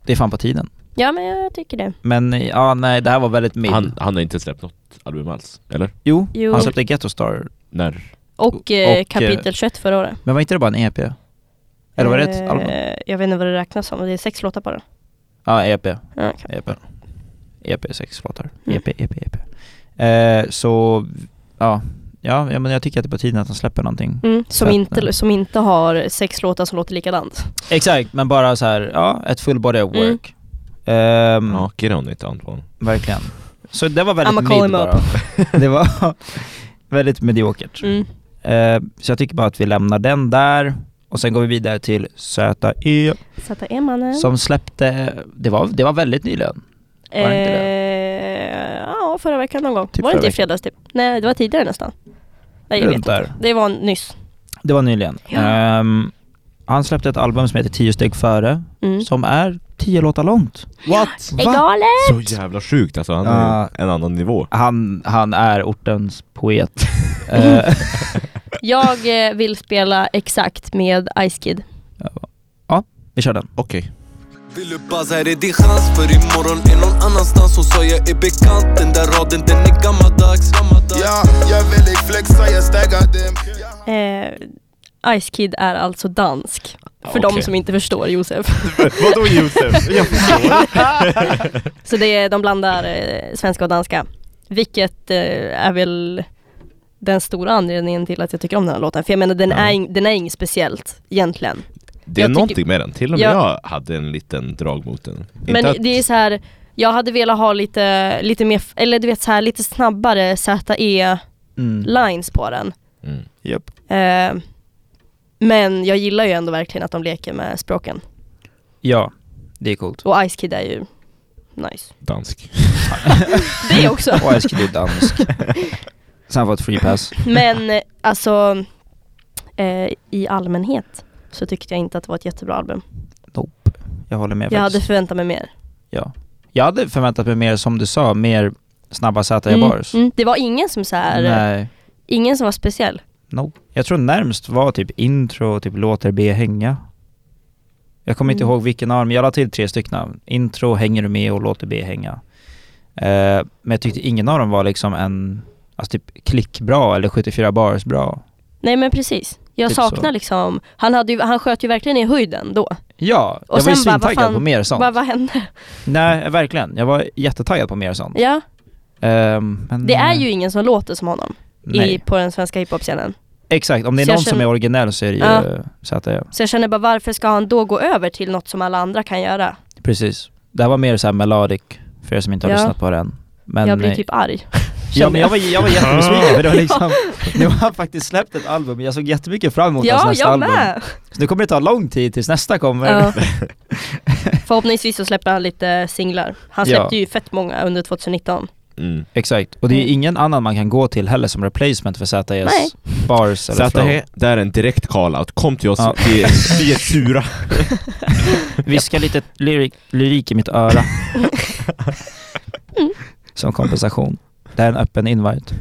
Speaker 2: det är fan på tiden.
Speaker 1: Ja, men jag tycker det.
Speaker 2: Men eh, ja, nej, det här var väldigt mild.
Speaker 3: Han, han har inte släppt något album alls, eller?
Speaker 2: jo,
Speaker 1: Jo.
Speaker 2: han släppte Ghetto Star,
Speaker 3: När?
Speaker 1: Och, eh,
Speaker 2: Och, eh,
Speaker 1: kapitel 21 förra året.
Speaker 2: men var inte det bara en EP? Eller var det ett
Speaker 1: Eh,
Speaker 2: album?
Speaker 1: Jag vet inte vad det räknas som, det är sex låtar bara.
Speaker 2: Ja, E EP.
Speaker 1: Ja, okej.
Speaker 2: EP. EP, E sex låtar. E
Speaker 1: Mm.
Speaker 2: EP, EP, EP. Eh, så, ja. Ja, ja, men jag tycker att det är på tiden att han släpper någonting.
Speaker 1: Mm, som,
Speaker 2: att,
Speaker 1: inte,
Speaker 2: nej.
Speaker 1: som inte har sex låtar som låter likadant.
Speaker 2: Exakt, men bara så här, ja, ett full body of
Speaker 1: Mm.
Speaker 2: work.
Speaker 3: Mm.
Speaker 2: Ehm,
Speaker 3: Nakenrånigt Anton.
Speaker 2: Verkligen. Så det var väldigt
Speaker 1: I'mma call him
Speaker 2: mid bara. Det var väldigt mediokert.
Speaker 1: Mm.
Speaker 2: Eh, så jag tycker bara att vi lämnar den där och sen går vi vidare till Söta E
Speaker 1: Sätta E mannen.
Speaker 2: som släppte, det var, det var väldigt nyligen.
Speaker 1: Eh,
Speaker 2: Var det inte
Speaker 1: ja, förra veckan någon gång.
Speaker 2: Typ
Speaker 1: var det
Speaker 2: förra
Speaker 1: inte i
Speaker 2: veckan.
Speaker 1: fredags typ? Nej, det var tidigare nästan. Nej, jag
Speaker 2: Runt
Speaker 1: vet inte.
Speaker 2: där.
Speaker 1: Det var nyss.
Speaker 2: Det var nyligen.
Speaker 1: Ja.
Speaker 2: Ehm, han släppte ett album som heter 10 steg före
Speaker 1: Mm.
Speaker 2: som är 10 låtar långt. What?
Speaker 1: Är galet!
Speaker 3: Så jävla sjukt alltså, han är
Speaker 2: Ja.
Speaker 3: en annan nivå.
Speaker 2: Han, han är ortens poet. Eh,
Speaker 1: Jag eh, vill spela exakt med Ice Kid.
Speaker 2: vi kör den.
Speaker 3: Okej.
Speaker 4: Vill du buzz? Här är din chans För imorgon är någon annanstans Hon sa jag är bekant Den där raden den är gammaldags Ja, jag vill ej flexa Jag staggar dem
Speaker 1: Eh, Ice Kid är alltså dansk. För
Speaker 2: Ah,
Speaker 1: de
Speaker 3: okej.
Speaker 1: som inte förstår Josef.
Speaker 3: Vadå Josef? Jag förstår.
Speaker 1: Så det är, de blandar eh, svenska och danska. Vilket eh, är väl den stora anledningen till att jag tycker om den här låten. För jag menar den,
Speaker 3: Ja.
Speaker 1: är, ing- den är inget speciellt egentligen.
Speaker 3: Det är
Speaker 1: Jag tycker-
Speaker 3: någonting med den, till och med
Speaker 1: Ja.
Speaker 3: jag hade en liten drag mot den.
Speaker 1: Men
Speaker 3: Inte att,
Speaker 1: det är så här, jag hade velat ha lite, lite mer, eller du vet så här lite snabbare ZE-lines
Speaker 2: Mm.
Speaker 1: på den.
Speaker 3: mm.
Speaker 2: Japp.
Speaker 1: Eh, men jag gillar ju ändå verkligen att de leker med språken.
Speaker 2: Ja, det är coolt.
Speaker 1: Och Ice Kid är ju nice.
Speaker 3: Dansk.
Speaker 1: Det också.
Speaker 2: Och jag skulle dansk. Så han får ett free pass.
Speaker 1: Men eh, alltså eh, i allmänhet så tyckte jag inte att det var ett jättebra album.
Speaker 2: Nope. Jag håller med
Speaker 1: Jag
Speaker 2: faktiskt.
Speaker 1: hade förväntat mig mer.
Speaker 2: Jag hade förväntat mig mer som du sa, mer snabba sätta
Speaker 1: Mm,
Speaker 2: bars.
Speaker 1: mm. Det var ingen som så här, eh,
Speaker 2: Nej,
Speaker 1: ingen som var speciell.
Speaker 2: no. Jag tror närmst var typ intro och typ låter B hänga. Jag kommer inte
Speaker 1: Mm.
Speaker 2: ihåg vilken arm, jag la till tre stycken. Intro, hänger du med och låter B hänga. Eh, men jag tyckte ingen av dem var liksom en, alltså typ klickbra eller 74 bars bra.
Speaker 1: Nej men precis. Jag
Speaker 2: Typ
Speaker 1: saknar
Speaker 2: så.
Speaker 1: liksom, han, hade ju, han sköt ju verkligen i höjden då.
Speaker 2: Ja,
Speaker 1: Och
Speaker 2: jag var ju
Speaker 1: sen bara, vad
Speaker 2: svintaggad
Speaker 1: fan-
Speaker 2: på mer sånt.
Speaker 1: Vad, vad hände?
Speaker 2: Nej, verkligen. Jag var jättetaggad på mer sånt.
Speaker 1: Ja,
Speaker 2: Ehm, men,
Speaker 1: det är
Speaker 2: eh,
Speaker 1: ju ingen som låter som honom
Speaker 2: nej.
Speaker 1: i, på den svenska hiphop-scenen.
Speaker 2: Exakt, om det är
Speaker 1: Så jag
Speaker 2: någon som
Speaker 1: känner-
Speaker 2: är originell så är det ju
Speaker 1: Ja.
Speaker 2: så att eh, det är.
Speaker 1: Så jag känner bara varför ska han då gå över till något som alla andra kan göra?
Speaker 2: Precis. Det här var mer såhär melodic, för er som inte har
Speaker 1: Ja.
Speaker 2: lyssnat på den. Men,
Speaker 1: jag blir
Speaker 2: eh,
Speaker 1: typ arg.
Speaker 2: ja,
Speaker 1: känner
Speaker 2: men jag, var, jag var jättebesviken för det var liksom, nu har han faktiskt släppt ett album, jag såg jättemycket fram emot hans
Speaker 1: Ja,
Speaker 2: nästa
Speaker 1: jag
Speaker 2: album.
Speaker 1: med!
Speaker 2: Så nu kommer det ta lång tid tills nästa kommer.
Speaker 1: Ja. Förhoppningsvis så släpper han lite singlar. Han
Speaker 2: Ja.
Speaker 1: släppte ju fett många under 2019.
Speaker 3: Mm.
Speaker 2: Exakt, och det är ju
Speaker 1: Mm.
Speaker 2: ingen annan man kan gå till heller som replacement för
Speaker 1: Nej.
Speaker 2: ZE's bars eller flow.
Speaker 3: Zähe, det är en direkt call-out. Kom till oss,
Speaker 2: Ja.
Speaker 3: vi, är, vi är sura.
Speaker 2: Viska lite lyrik, lyrik i mitt öra. Som kompensation. Det här är en öppen invite.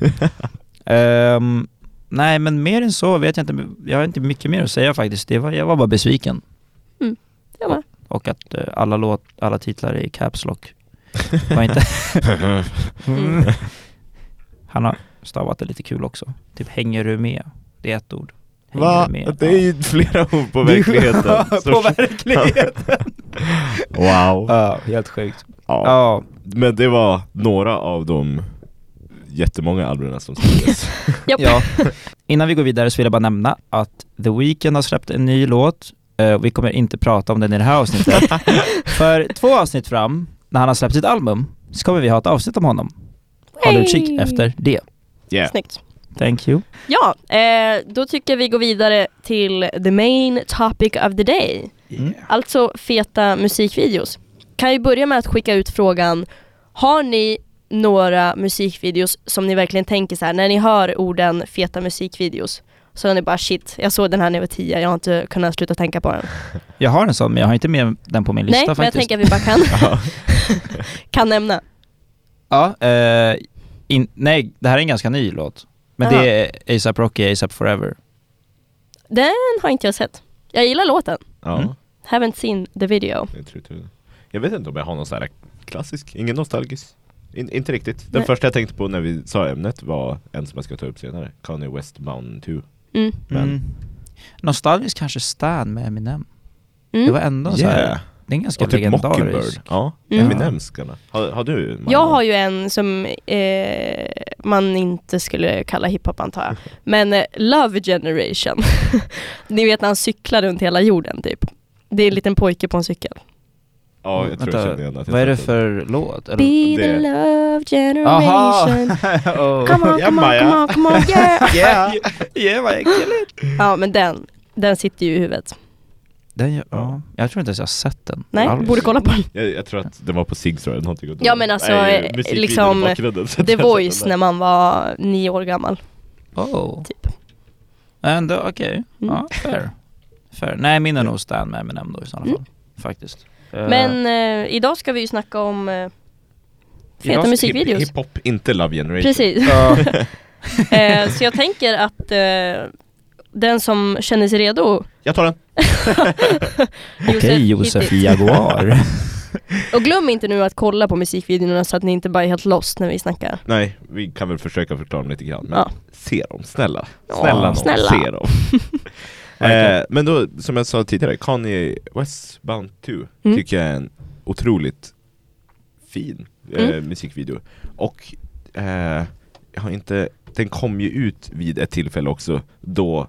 Speaker 2: Ehm, nej men mer än så vet jag inte, jag har inte mycket mer att säga faktiskt. Det var, jag var bara besviken.
Speaker 1: Jag med.
Speaker 2: Och att eh, alla, låt, alla titlar är i Caps Lock. Var inte...
Speaker 1: Mm.
Speaker 2: Han har stavat det lite kul också. Typ hänger du med? Det är ett ord. Hänger
Speaker 3: Va?
Speaker 2: du med?
Speaker 3: Det är ju flera ord på verkligheten.
Speaker 2: på verkligheten!
Speaker 3: wow.
Speaker 2: Ja, helt sjukt.
Speaker 3: Ja.
Speaker 2: Ja,
Speaker 3: Men det var några av de jättemånga albumen som släpptes.
Speaker 1: Japp.
Speaker 2: Ja. Innan vi går vidare så vill jag bara nämna att The Weeknd har släppt en ny låt. Eh, vi kommer inte prata om den i det här avsnittet. För två avsnitt fram, när han har släppt sitt album, så kommer vi ha ett avsnitt om honom. Håll
Speaker 1: Hey!
Speaker 2: utkik efter det.
Speaker 3: yeah.
Speaker 1: Snyggt.
Speaker 2: Thank you.
Speaker 1: Ja, eh, då tycker jag vi går vidare till the main topic of the day.
Speaker 2: Mm.
Speaker 1: Alltså feta musikvideos. Kan ju börja med att skicka ut frågan, har ni några musikvideos som ni verkligen tänker så här, när ni hör orden feta musikvideos, så är ni bara shit, jag såg den här när jag var tio, jag har inte kunnat sluta tänka på den.
Speaker 2: Jag har en sån, men jag har inte med den på min lista
Speaker 1: Nej, men jag
Speaker 2: faktiskt.
Speaker 1: tänker att vi bara kan, kan nämna.
Speaker 2: Ja, eh, in, nej, det här är en ganska ny låt. Men
Speaker 1: Jaha.
Speaker 2: det är ASAP Rocky, ASAP Forever.
Speaker 1: Den har inte jag sett. Jag gillar låten,
Speaker 3: Ja,
Speaker 2: Mm.
Speaker 1: haven't seen the video.
Speaker 3: jag, tror inte det. jag vet inte om jag har någon sån här klassisk, ingen nostalgisk. In, inte riktigt. Den
Speaker 1: Nej.
Speaker 3: första jag tänkte på när vi sa ämnet var en som jag ska ta upp senare, Kanye West Mountain 2.
Speaker 1: Mm.
Speaker 3: Men-
Speaker 2: Mm. Nostalgiskt kanske Stan med Eminem. Det
Speaker 1: Mm.
Speaker 2: var ändå så
Speaker 3: Yeah.
Speaker 2: här, det är en ganska
Speaker 3: Och typ
Speaker 2: legendarisk.
Speaker 3: Mockingbird. Ja,
Speaker 1: Mm.
Speaker 3: Eminemskarna. Har, har du? Magnus?
Speaker 1: Jag har ju en som eh, man inte skulle kalla hiphop antar jag. Men eh, Love Generation. Ni vet när han cyklar runt hela jorden typ. Det är en liten pojke på en cykel.
Speaker 3: Ja, jag tror jag känner igen att jag
Speaker 2: vad är det
Speaker 3: sett
Speaker 2: för låt? Eller-
Speaker 1: Be
Speaker 3: Det-
Speaker 1: the love
Speaker 2: Aha!
Speaker 1: generation
Speaker 2: oh.
Speaker 1: Come on,
Speaker 3: Ja,
Speaker 1: come on,
Speaker 3: Maja.
Speaker 1: come on, come on, yeah!
Speaker 2: Yeah! yeah, vad äckligt!
Speaker 1: Ja men den, den sitter ju i huvudet.
Speaker 2: Den, gör- ja, jag tror inte ens jag har sett den
Speaker 1: Nej,
Speaker 2: alls.
Speaker 1: borde kolla på den.
Speaker 3: Jag, jag tror att den var på Ziggs tror jag, eller någonting åt det
Speaker 1: Ja,
Speaker 3: hållet.
Speaker 1: men alltså, eh,
Speaker 3: Nej, musikvideon i
Speaker 1: liksom,
Speaker 3: bakgrunden, så att
Speaker 1: The
Speaker 3: jag har sett
Speaker 1: Voice
Speaker 3: den där.
Speaker 1: när man var nio år gammal.
Speaker 2: Oh.
Speaker 1: Typ.
Speaker 2: Ändå okej,
Speaker 1: Mm.
Speaker 2: ja, fair. fair. Nej, min är nog Stan med Eminem då i
Speaker 1: Mm.
Speaker 2: sådana fall. Faktiskt. Eh,
Speaker 1: Men eh, idag ska vi ju snacka om eh, feta
Speaker 2: idag ska-
Speaker 1: musikvideos.
Speaker 3: Hip- Hiphop, inte Love Generation
Speaker 1: Precis.
Speaker 2: ja,
Speaker 1: Eh, så jag tänker att eh, den som känner sig redo
Speaker 3: Jag tar den!
Speaker 2: Okej, Josef
Speaker 1: hittills.
Speaker 2: Jaguar.
Speaker 1: Och glöm inte nu att kolla på musikvideorna så att ni inte bara är helt lost när vi snackar.
Speaker 3: Nej, vi kan väl försöka förklara dem lite grann men
Speaker 1: Ja.
Speaker 3: se dem, snälla!
Speaker 1: Ja,
Speaker 3: Snälla någon,
Speaker 1: snälla.
Speaker 3: se dem!
Speaker 2: Verkligen.
Speaker 3: eh, men då, som jag sa tidigare, Kanye West Bound 2
Speaker 1: Mm.
Speaker 3: tycker jag är en otroligt fin eh,
Speaker 1: Mm.
Speaker 3: musikvideo Och eh, jag har inte, den kom ju ut vid ett tillfälle också då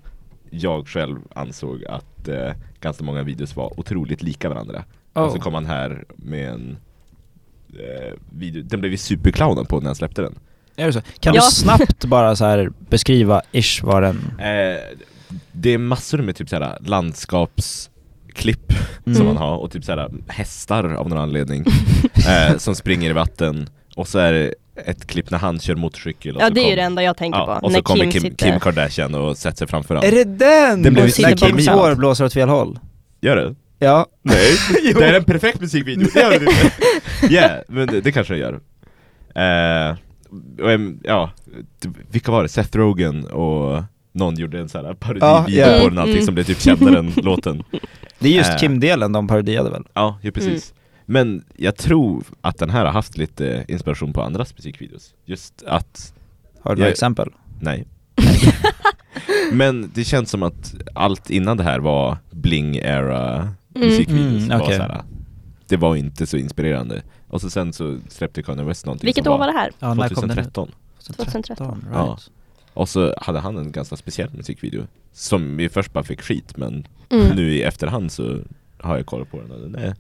Speaker 3: jag själv ansåg att eh, ganska många videos var otroligt lika varandra Och så
Speaker 2: oh.
Speaker 3: kom han här med en eh, video, den blev ju superclownen på när han släppte den
Speaker 2: Är det så? Kan
Speaker 1: Ja.
Speaker 2: du snabbt bara så här beskriva ish vad den...
Speaker 3: eh, Det är massor med typ såhär landskapsklipp
Speaker 1: Mm.
Speaker 3: som man har och typ såhär hästar av någon anledning eh, som springer i vatten och så är det ett klipp när han kör motorcykel och
Speaker 1: Ja
Speaker 3: så
Speaker 1: det är ju
Speaker 3: kom-
Speaker 1: det enda jag tänker
Speaker 3: ja,
Speaker 1: på.
Speaker 3: och
Speaker 1: När
Speaker 3: så kommer
Speaker 1: Kim,
Speaker 3: Kim,
Speaker 1: sitter...
Speaker 3: Kim Kardashian och sätter sig framför honom
Speaker 2: Är det den?
Speaker 3: Den blev
Speaker 1: ju
Speaker 2: när
Speaker 1: sitter
Speaker 2: Kims
Speaker 1: bakom.
Speaker 2: hår blåser åt fel håll.
Speaker 3: Gör det?
Speaker 2: Ja.
Speaker 3: Nej, det är en perfekt musikvideo, det gör det inte! Yeah, men det, det kanske den gör eh, och, em, Ja, t- vilka var det? Seth Rogen och någon gjorde en sån här parodivideo
Speaker 2: ja.
Speaker 3: på den allting
Speaker 1: Mm.
Speaker 3: som blev typ kändare än låten
Speaker 2: Det är just
Speaker 3: Eh.
Speaker 2: Kim-delen de parodiade väl?
Speaker 3: Ja, ju precis
Speaker 1: Mm.
Speaker 3: Men jag tror att den här har haft lite inspiration på andras musikvideos Just att,
Speaker 2: Har du några
Speaker 3: Jag-
Speaker 2: exempel?
Speaker 3: nej Men det känns som att allt innan det här var bling-era musikvideos
Speaker 2: Mm,
Speaker 3: Det var
Speaker 2: okej.
Speaker 3: så här, Det var inte så inspirerande Och så sen så släppte Kanye West någonting
Speaker 1: Vilket
Speaker 3: som
Speaker 1: år var det här?
Speaker 2: Ja,
Speaker 3: 2013
Speaker 1: 2013,
Speaker 2: right.
Speaker 3: Ja. Och så hade han en ganska speciell musikvideo Som vi först bara fick skit men
Speaker 1: Mm.
Speaker 3: nu i efterhand så har jag kollat på den och den är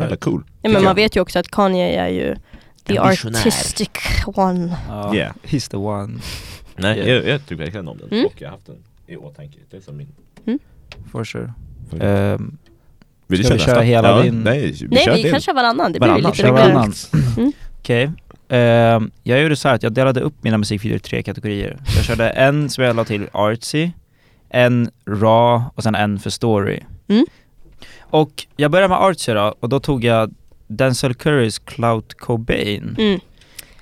Speaker 3: jävla cool
Speaker 1: Ja, men man vet ju också att Kanye är ju the
Speaker 3: En visionär.
Speaker 1: artistic one.
Speaker 2: Ja.
Speaker 3: Yeah.
Speaker 2: He's the one,
Speaker 3: Nej,
Speaker 2: Yeah.
Speaker 3: jag, jag tycker verkligen om den
Speaker 1: Mm.
Speaker 3: och jag har haft den i åtanke Det är som min
Speaker 2: for sure.
Speaker 3: För-
Speaker 2: Ehm,
Speaker 3: Vill
Speaker 2: Ska vi köra
Speaker 3: nästa?
Speaker 2: hela
Speaker 3: ja,
Speaker 2: din-
Speaker 3: Nej, vi
Speaker 1: Nej
Speaker 3: kör
Speaker 1: vi
Speaker 3: din.
Speaker 1: kan köra varannan, det blir ju
Speaker 3: Varannan,
Speaker 1: lite
Speaker 2: kör
Speaker 1: roligare.
Speaker 2: varannan.
Speaker 1: Mm.
Speaker 2: Okej. Ehm, jag gjorde så här att jag delade upp mina musikvideor i tre kategorier. Så jag körde en som jag la till artsy, en raw och sen en för story.
Speaker 1: Mm.
Speaker 2: Och jag började med artsy då, och då tog jag Denzel Currys Clout Cobain.
Speaker 1: Mm.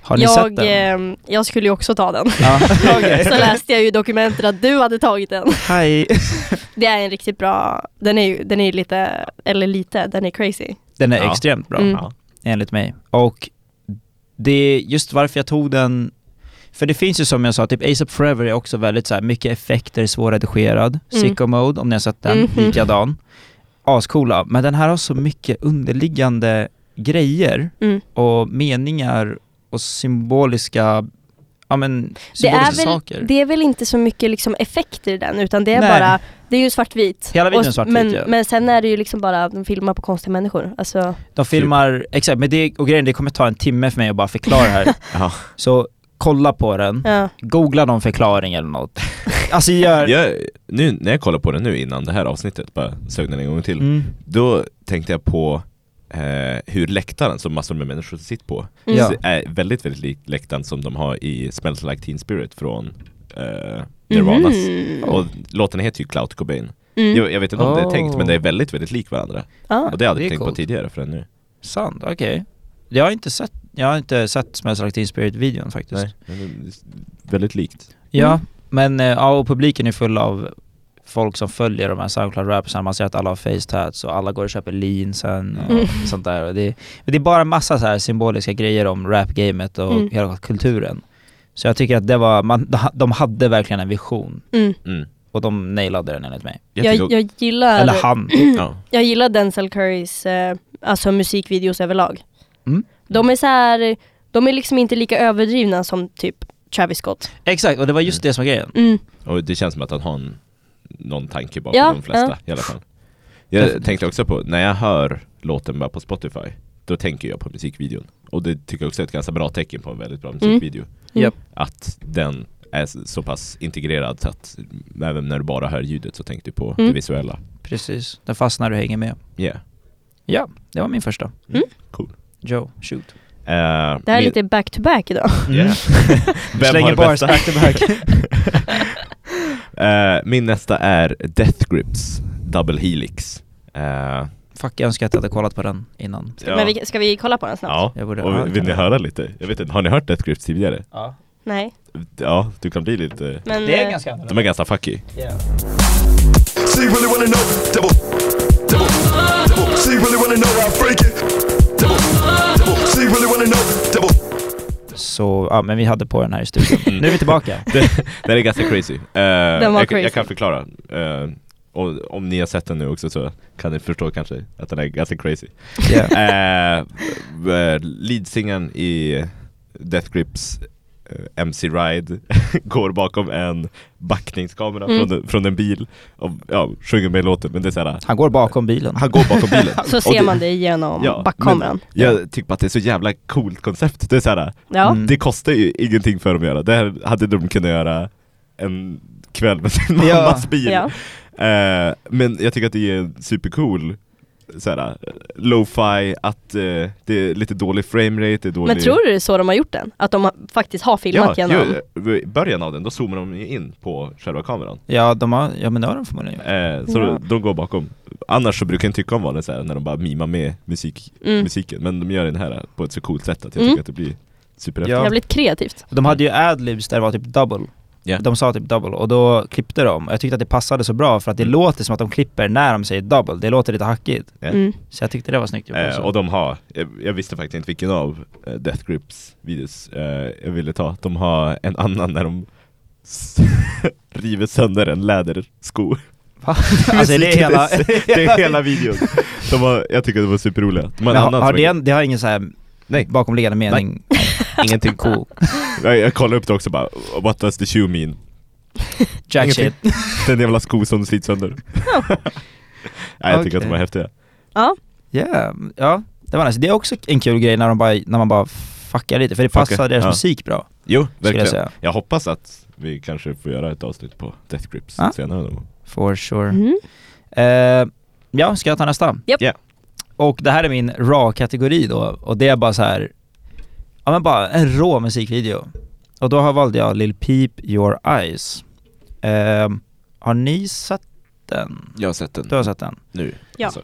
Speaker 2: Har ni sett
Speaker 1: Jag,
Speaker 2: den?
Speaker 1: ehm, jag skulle ju också ta den.
Speaker 2: Ja, okej.
Speaker 1: Så läste jag ju i dokumentet att du hade tagit den.
Speaker 2: Hej.
Speaker 1: Det är en riktigt bra, den är ju den är ju lite, eller lite, den är crazy.
Speaker 2: Den är
Speaker 3: Ja.
Speaker 2: extremt bra.
Speaker 1: Mm.
Speaker 3: Ja.
Speaker 2: enligt mig. Och det är just varför jag tog den, för det finns ju som jag sa, typ Ace of Forever är också väldigt så här, mycket effekter, svårredigerad,
Speaker 1: Mm.
Speaker 2: sicko mode om ni har sett den,
Speaker 1: Mhm.
Speaker 2: likadan. Ascoola, men den här har så mycket underliggande grejer
Speaker 1: Mm.
Speaker 2: och meningar och symboliska, ja men,
Speaker 1: Det
Speaker 2: symboliska
Speaker 1: är,
Speaker 2: saker.
Speaker 1: väl, det är väl inte så mycket liksom effekter i den utan det är
Speaker 2: Nej.
Speaker 1: bara, det är ju svartvit.
Speaker 2: Hela videon är
Speaker 1: Och s-
Speaker 2: svartvit,
Speaker 1: men,
Speaker 2: ja.
Speaker 1: men sen är det ju liksom bara, de filmar på konstiga människor. Alltså,
Speaker 2: De filmar, exakt, men det, och grejen det kommer ta en timme för mig att bara förklara det här.
Speaker 3: Ja.
Speaker 2: Så kolla på den,
Speaker 1: ja.
Speaker 2: googla någon förklaring eller något. Alltså gör...
Speaker 3: Jag, nu när jag kollar på den nu innan det här avsnittet, bara sög den en gång till
Speaker 2: Mm.
Speaker 3: Då tänkte jag på eh, hur läktaren som massor med människor sitter på
Speaker 1: Mm.
Speaker 2: Ja.
Speaker 3: är väldigt väldigt lik läktaren som de har i Smells Like Teen Spirit från eh, Nirvanas
Speaker 1: Mhm.
Speaker 3: Och låten heter ju Clout Cobain
Speaker 1: Mm.
Speaker 3: jag, jag vet inte om det är
Speaker 2: Oh.
Speaker 3: tänkt men det är väldigt väldigt lik varandra
Speaker 1: Ja.
Speaker 3: Och det hade
Speaker 2: det är
Speaker 3: jag tänkt på
Speaker 2: coolt.
Speaker 3: tidigare förrän nu
Speaker 2: Sant, okej. Jag har inte sett, jag har inte sett Smells Like Teen Spirit-videon faktiskt.
Speaker 3: Nej, men det är väldigt likt
Speaker 2: Ja, men eh, ja, och publiken är full av folk som följer de här Soundcloud-rappersarna. Man ser att alla har facetats och alla går och köper leansen och
Speaker 1: Mm.
Speaker 2: sånt där. Och det, men det är bara massa så här symboliska grejer om rap-gamet och
Speaker 1: Mm.
Speaker 2: hela kulturen. Så jag tycker att det var, man, de hade verkligen en vision
Speaker 1: Mm.
Speaker 3: mm.
Speaker 2: och de nailade den enligt mig.
Speaker 3: jag, tycker
Speaker 1: Jag, jag,
Speaker 2: Eller
Speaker 1: gillar,
Speaker 2: han.
Speaker 3: ja.
Speaker 1: jag gillar Denzel Currys eh, alltså musikvideos överlag.
Speaker 2: Mm.
Speaker 1: De är så här, de är liksom inte lika överdrivna som typ Travis Scott.
Speaker 2: Exakt, och det var just det som var grejen.
Speaker 1: Mm.
Speaker 3: Och det känns som att han har en, någon tanke bakom
Speaker 1: Ja,
Speaker 3: de flesta
Speaker 1: ja.
Speaker 3: i alla fall Jag tänkte också på, när jag hör låten bara på Spotify Då tänker jag på musikvideon Och det tycker jag också är ett ganska bra tecken på en väldigt bra
Speaker 1: Mm.
Speaker 3: musikvideo
Speaker 2: Japp.
Speaker 3: Att den är s- så pass integrerad så att även när du bara hör ljudet så tänker du på det
Speaker 1: Mm.
Speaker 3: visuella
Speaker 2: Precis, den fastnar och hänger med.
Speaker 3: yeah.
Speaker 2: Ja, det var min första.
Speaker 1: Mm.
Speaker 3: Cool.
Speaker 2: Joe, shoot. Mm.
Speaker 3: Eh,
Speaker 1: Det här är
Speaker 3: min-
Speaker 1: lite back to back idag.
Speaker 3: yeah. Vem har
Speaker 2: Slänger
Speaker 3: det
Speaker 2: bars
Speaker 3: bästa?
Speaker 2: back to back.
Speaker 3: Eh, Min nästa är Death Grips Double Helix Eh,
Speaker 2: Fuck, jag önskar att jag hade kollat på den innan.
Speaker 3: ja.
Speaker 1: Men vi, ska vi kolla på den snabbt?
Speaker 3: Ja,
Speaker 2: Jag borde- ja,
Speaker 3: och vill
Speaker 2: kan
Speaker 3: ni
Speaker 2: jag.
Speaker 3: höra lite? Jag vet inte, har ni hört Death Grips tidigare?
Speaker 2: Ja.
Speaker 1: Nej.
Speaker 3: Ja, du kan bli lite...
Speaker 1: Men,
Speaker 2: Det är
Speaker 1: eh,
Speaker 2: ganska
Speaker 3: De
Speaker 2: annorlunda.
Speaker 3: är ganska fucky
Speaker 8: She really wanna know, double, double, double. She really wanna know how I freak it, double, double. She really wanna know, double.
Speaker 2: Så, ja men vi hade på den här i studion.
Speaker 3: Mm.
Speaker 2: Nu är vi tillbaka.
Speaker 3: det, den är ganska crazy. Eh,
Speaker 1: Den var
Speaker 3: jag,
Speaker 1: crazy.
Speaker 3: jag kan förklara. Eh, och om ni har sett den nu också så kan ni förstå kanske att den är ganska crazy.
Speaker 2: Yeah.
Speaker 3: Eh, eh, Leadsingern i Death Grips eh, MC Ride går bakom en backningskamera
Speaker 1: Mm.
Speaker 3: från, en- från en bil och ja, sjunger med i låten men det är såhär,
Speaker 2: Han går bakom bilen.
Speaker 3: han går bakom bilen.
Speaker 1: eh, Så
Speaker 3: Och
Speaker 1: ser man det genom
Speaker 3: Ja,
Speaker 1: backkameran.
Speaker 3: Jag tycker bara att det är så jävla coolt koncept. Det är såhär,
Speaker 1: Ja.
Speaker 2: Mm.
Speaker 3: Det kostar ju ingenting för dem att göra, det här hade de kunnat göra en kväll med sin
Speaker 2: Ja.
Speaker 3: mammas bil
Speaker 1: ja.
Speaker 3: eh, Men jag tycker att det är en supercool såhär, eh, lo-fi, att eh, det är lite dålig framerate, det är dålig
Speaker 1: Men tror du det är så de har gjort den? Att de har, faktiskt har
Speaker 3: Ja,
Speaker 1: filmat genom?
Speaker 3: ju, i början av den, då zoomar de ju in på själva kameran
Speaker 2: Ja, de har, ja men det har de förmodligen gjort.
Speaker 3: eh, Så
Speaker 1: Ja.
Speaker 3: de går bakom Annars så brukar jag inte tycka om vanligt såhär, när de bara mimar med musik,
Speaker 1: Mm.
Speaker 3: musiken Men de gör den här på ett så coolt sätt att jag
Speaker 1: Mm.
Speaker 3: tycker att det blir superhäftigt
Speaker 2: Ja.
Speaker 1: Jävligt kreativt.
Speaker 2: De hade ju adlibs där det var typ double.
Speaker 3: Ja.
Speaker 2: De sa typ double och då klippte de. Jag tyckte att det passade så bra för att det
Speaker 3: Mm.
Speaker 2: låter som att de klipper när de säger double. Det låter lite hackigt.
Speaker 3: Ja.
Speaker 1: Mm.
Speaker 2: Så jag tyckte det var snyggt gjort
Speaker 3: Eh,
Speaker 2: också.
Speaker 3: och de har, jag, jag visste faktiskt inte vilken av eh, Death Grips videos eh, jag ville ta, de har en annan när de s- river sönder en lädersko
Speaker 2: Va? alltså är det
Speaker 3: Musiken
Speaker 2: hela...
Speaker 3: är- Det är hela videon! De har, jag tycker de var superroliga de har
Speaker 2: Men
Speaker 3: en
Speaker 2: har,
Speaker 3: annan
Speaker 2: har
Speaker 3: som
Speaker 2: det,
Speaker 3: jag-
Speaker 2: en, det har ingen så här
Speaker 3: Nej.
Speaker 2: bakomliggande mening?
Speaker 3: Ingenting
Speaker 2: Cool.
Speaker 3: jag, jag kollade upp det också bara, what does the shoe mean?
Speaker 2: Jack shit.
Speaker 3: Ingenting. Den jävla sko som slits sönder Nej, jag tycker att de
Speaker 2: Okej.
Speaker 3: var häftiga
Speaker 1: Ja.
Speaker 2: Yeah. Ja, det var nice. Det är också en kul grej när, de bara, när man bara fuckar lite, för det passar
Speaker 3: Fuckar,
Speaker 2: deras
Speaker 3: ja.
Speaker 2: musik bra.
Speaker 3: Jo,
Speaker 2: Skulle jag
Speaker 3: verkligen
Speaker 2: säga.
Speaker 3: jag, hoppas att vi kanske får göra ett avsnitt på Death Grips
Speaker 2: Ja.
Speaker 3: senare någon gång
Speaker 2: For sure.
Speaker 1: Mm.
Speaker 2: Eh, ja, ska jag ta nästa?
Speaker 1: Japp.
Speaker 3: Ja.
Speaker 2: Och det här är min raw-kategori då, och det är bara så här. ja men bara en rå musikvideo. Och då har valde jag Lil Peep Your Eyes. Eh, har ni sett den?
Speaker 3: Jag har sett den
Speaker 2: Du har sett den?
Speaker 3: nu
Speaker 1: Ja.
Speaker 3: alltså.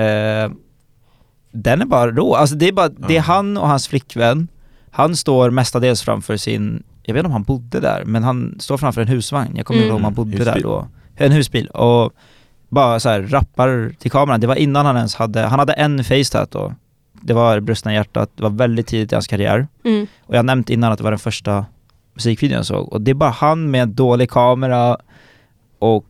Speaker 2: Eh, den är bara rå. Alltså det är bara, det är han och hans flickvän. Han står mestadels framför sin, jag vet inte om han bodde där, men han står framför en husvagn. Jag kommer
Speaker 1: Mm.
Speaker 2: inte ihåg om han bodde där
Speaker 3: Husbil.
Speaker 2: då. En husbil. Och bara så här rappar till kameran. Det var innan han ens hade, han hade en facetat då. Det var brustna hjärtat, det var väldigt tidigt i hans karriär.
Speaker 1: Mm.
Speaker 2: Och jag har nämnt innan att det var den första musikvideon jag såg. Och det är bara han med en dålig kamera och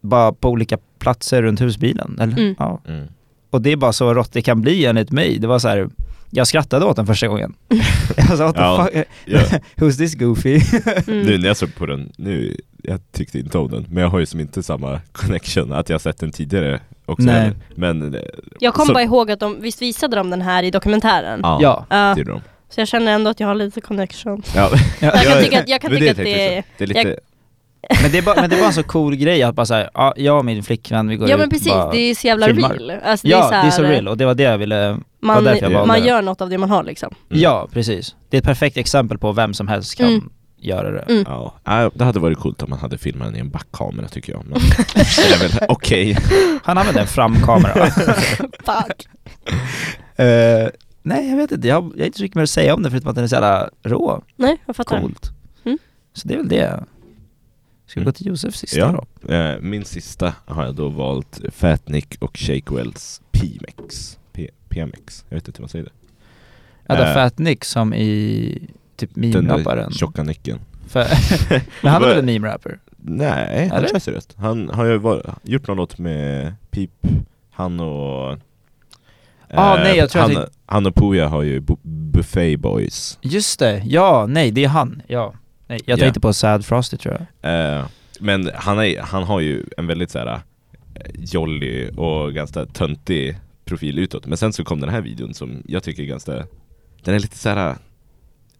Speaker 2: bara på olika platser runt husbilen. Eller?
Speaker 1: Mm.
Speaker 2: Ja,
Speaker 3: Mm.
Speaker 2: och det är bara så rått det kan bli enligt mig. Det var så här, jag skrattade åt den första gången. jag sa what the
Speaker 3: Ja.
Speaker 2: fuck,
Speaker 3: Ja.
Speaker 2: who's this goofy?
Speaker 1: Mm.
Speaker 3: Nu när jag såg på den, nu, jag tyckte inte om den, men jag har ju som inte samma connection, att jag har sett den tidigare också
Speaker 2: Nej.
Speaker 3: heller. Men, eh,
Speaker 1: Jag kommer
Speaker 3: Så-
Speaker 1: bara ihåg att de, visst visade de den här i dokumentären?
Speaker 3: ja,
Speaker 2: ja.
Speaker 1: Ja.
Speaker 3: det gjorde de.
Speaker 1: så jag känner ändå att jag har lite connection.
Speaker 3: Ja.
Speaker 1: Jag kan
Speaker 3: Ja,
Speaker 1: tycka att, jag kan
Speaker 3: men
Speaker 1: tycka att
Speaker 3: tänkte jag
Speaker 1: det är...
Speaker 3: också. det är lite,
Speaker 2: Men, det är bara, men det var en så cool grej att bara så här, ja, jag och min flickvän vi går
Speaker 1: Ja
Speaker 2: ut
Speaker 1: men precis,
Speaker 2: bara,
Speaker 1: det är så jävla
Speaker 2: filmar.
Speaker 1: real. Alltså,
Speaker 2: Ja,
Speaker 1: här,
Speaker 2: det är så real och det var det jag ville,
Speaker 1: Man,
Speaker 2: därför jag valde
Speaker 1: man
Speaker 2: det.
Speaker 1: gör något av det man har liksom.
Speaker 3: Mm.
Speaker 2: ja precis. Det är ett perfekt exempel på vem som helst kan
Speaker 1: Mm.
Speaker 2: göra det.
Speaker 1: Mm.
Speaker 3: ja. Ja, det hade varit coolt om man hade filmat den i en backkamera tycker jag. Men, det är väl okej.
Speaker 2: Han använde en framkamera.
Speaker 1: Fuck.
Speaker 2: Eh, nej jag vet inte, jag, har- jag har inte så mycket mer att säga om det förutom att den är så jävla rå,
Speaker 1: Nej, jag fattar.
Speaker 2: coolt.
Speaker 1: Mm.
Speaker 2: Så det är väl det. Ska vi
Speaker 3: Mm.
Speaker 2: gå till Josef sista
Speaker 3: Ja.
Speaker 2: då?
Speaker 3: Eh, Min sista har jag då valt Fat Nick och Shake Wells PMX. P- PMX, jag vet inte hur man säger det.
Speaker 2: Ja, det
Speaker 3: Eh,
Speaker 2: är Fat Nick som i typ
Speaker 3: Den
Speaker 2: meme-rapparen.
Speaker 3: där tjocka nicken.
Speaker 2: Fa- Men han är väl en meme-rapper?
Speaker 3: Nej, han
Speaker 2: Eller?
Speaker 3: kör seriöst. Han har ju var, gjort någon låt med Pip, han och... eh,
Speaker 2: Ah, nej, jag tror
Speaker 3: han,
Speaker 2: att
Speaker 3: han och Pooja har ju bu- Buffet Boys.
Speaker 2: Just det, ja, nej det är han, ja. Nej, jag
Speaker 3: Ja.
Speaker 2: tänkte på Sad Frosty tror jag.
Speaker 3: Eh, men han, är, han har ju en väldigt så här jolly och ganska töntig profil utåt Men sen så kom den här videon som jag tycker är ganska Den är lite så här. eh,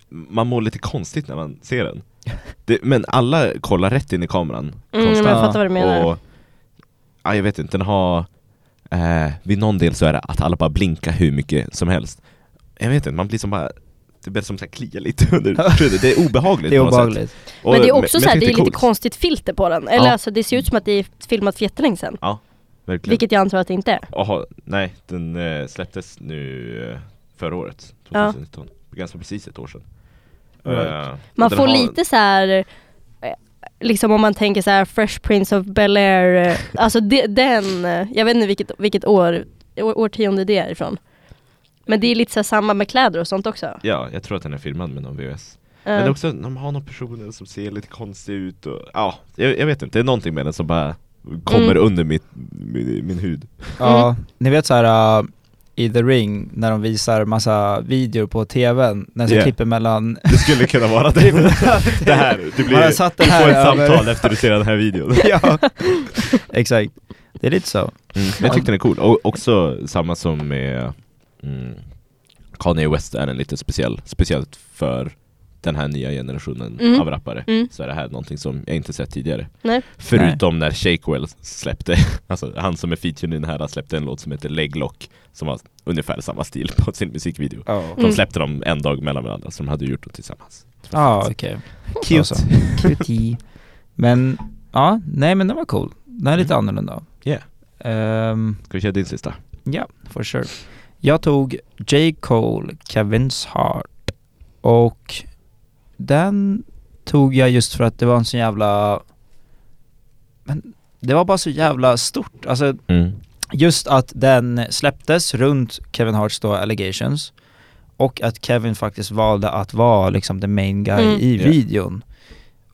Speaker 3: Man mår lite konstigt när man ser den det, Men alla kollar rätt in i kameran
Speaker 1: Mm, men jag
Speaker 3: konstant.
Speaker 1: fattar vad du menar.
Speaker 3: Och, ja, jag vet inte, den har eh, Vid någon del så är det att alla bara blinkar hur mycket som helst Jag vet inte, man blir som bara det blir som att klia lite under huvudet, det är obehagligt
Speaker 2: Det är
Speaker 3: på något sätt.
Speaker 2: obehagligt.
Speaker 3: Och-
Speaker 1: men det är också
Speaker 3: men
Speaker 1: så
Speaker 3: jag
Speaker 1: här,
Speaker 3: tycker
Speaker 1: det är lite
Speaker 3: coolt.
Speaker 1: konstigt filter på den. Eller
Speaker 3: Ja.
Speaker 1: alltså det ser ut som att det är filmat för jättelänge sedan.
Speaker 3: Verkligen.
Speaker 1: Vilket jag antar att det inte är.
Speaker 3: Jaha, nej, den eh, släpptes nu eh, förra året,
Speaker 1: Ja.
Speaker 3: 2019. Ganska precis ett år sedan.
Speaker 2: Alright.
Speaker 3: Eh, och
Speaker 1: Man
Speaker 3: den
Speaker 1: får
Speaker 3: har-
Speaker 1: lite så här eh, Liksom om man tänker så här Fresh Prince of Bel-Air, eh, alltså de, den, eh, jag vet inte vilket, vilket år, å- årtionde det är ifrån. Men det är lite så här samma med kläder och sånt också.
Speaker 3: Ja, jag tror att den är filmad med någon VHS.
Speaker 1: Eh,
Speaker 3: Men det är också, de har någon person som ser lite konstig ut och ja, jag, jag vet inte, det är någonting med den som bara kommer
Speaker 1: Mm.
Speaker 3: under mitt, min, min hud.
Speaker 2: Ja, ni vet så här äh, i The Ring när de visar massa videor på tvn, när de
Speaker 3: Yeah.
Speaker 2: klipper mellan...
Speaker 3: Det skulle kunna vara det. det här, du
Speaker 2: Man har
Speaker 3: blir,
Speaker 2: satt
Speaker 3: du
Speaker 2: den
Speaker 3: får
Speaker 2: här
Speaker 3: ett
Speaker 2: över-
Speaker 3: samtal efter du ser den här videon.
Speaker 2: ja, exakt. Det är lite så.
Speaker 3: Mm, jag tyckte den är cool, och också samma som med mm, Kanye West är den lite speciell, speciellt för den här nya generationen
Speaker 1: Mm.
Speaker 3: av rappare
Speaker 1: Mm.
Speaker 3: Så är det här någonting som jag inte sett tidigare
Speaker 1: Nej.
Speaker 3: Förutom när Shakewell släppte, alltså han som är featuren i den här släppte en låt som heter Leglock Som har ungefär samma stil på sin musikvideo
Speaker 2: Ja,
Speaker 3: De
Speaker 1: Mm.
Speaker 3: släppte dem en dag mellan varandra, så de hade gjort dem tillsammans
Speaker 2: okej.
Speaker 3: Cute.
Speaker 2: Alltså, Cutie. Men, ja, nej men den var cool. Den är lite annorlunda.
Speaker 3: Yeah.
Speaker 2: Ehm,
Speaker 3: Ska vi köra din sista?
Speaker 2: Ja, for sure. Jag tog J. Cole, Kevin's Heart. Och den tog jag just för att det var en så jävla... Men det var bara så jävla stort. Alltså
Speaker 3: Mm.
Speaker 2: just att den släpptes runt Kevin Harts då allegations. Och att Kevin faktiskt valde att vara liksom the main guy
Speaker 1: Mm.
Speaker 2: i
Speaker 3: Ja.
Speaker 2: videon.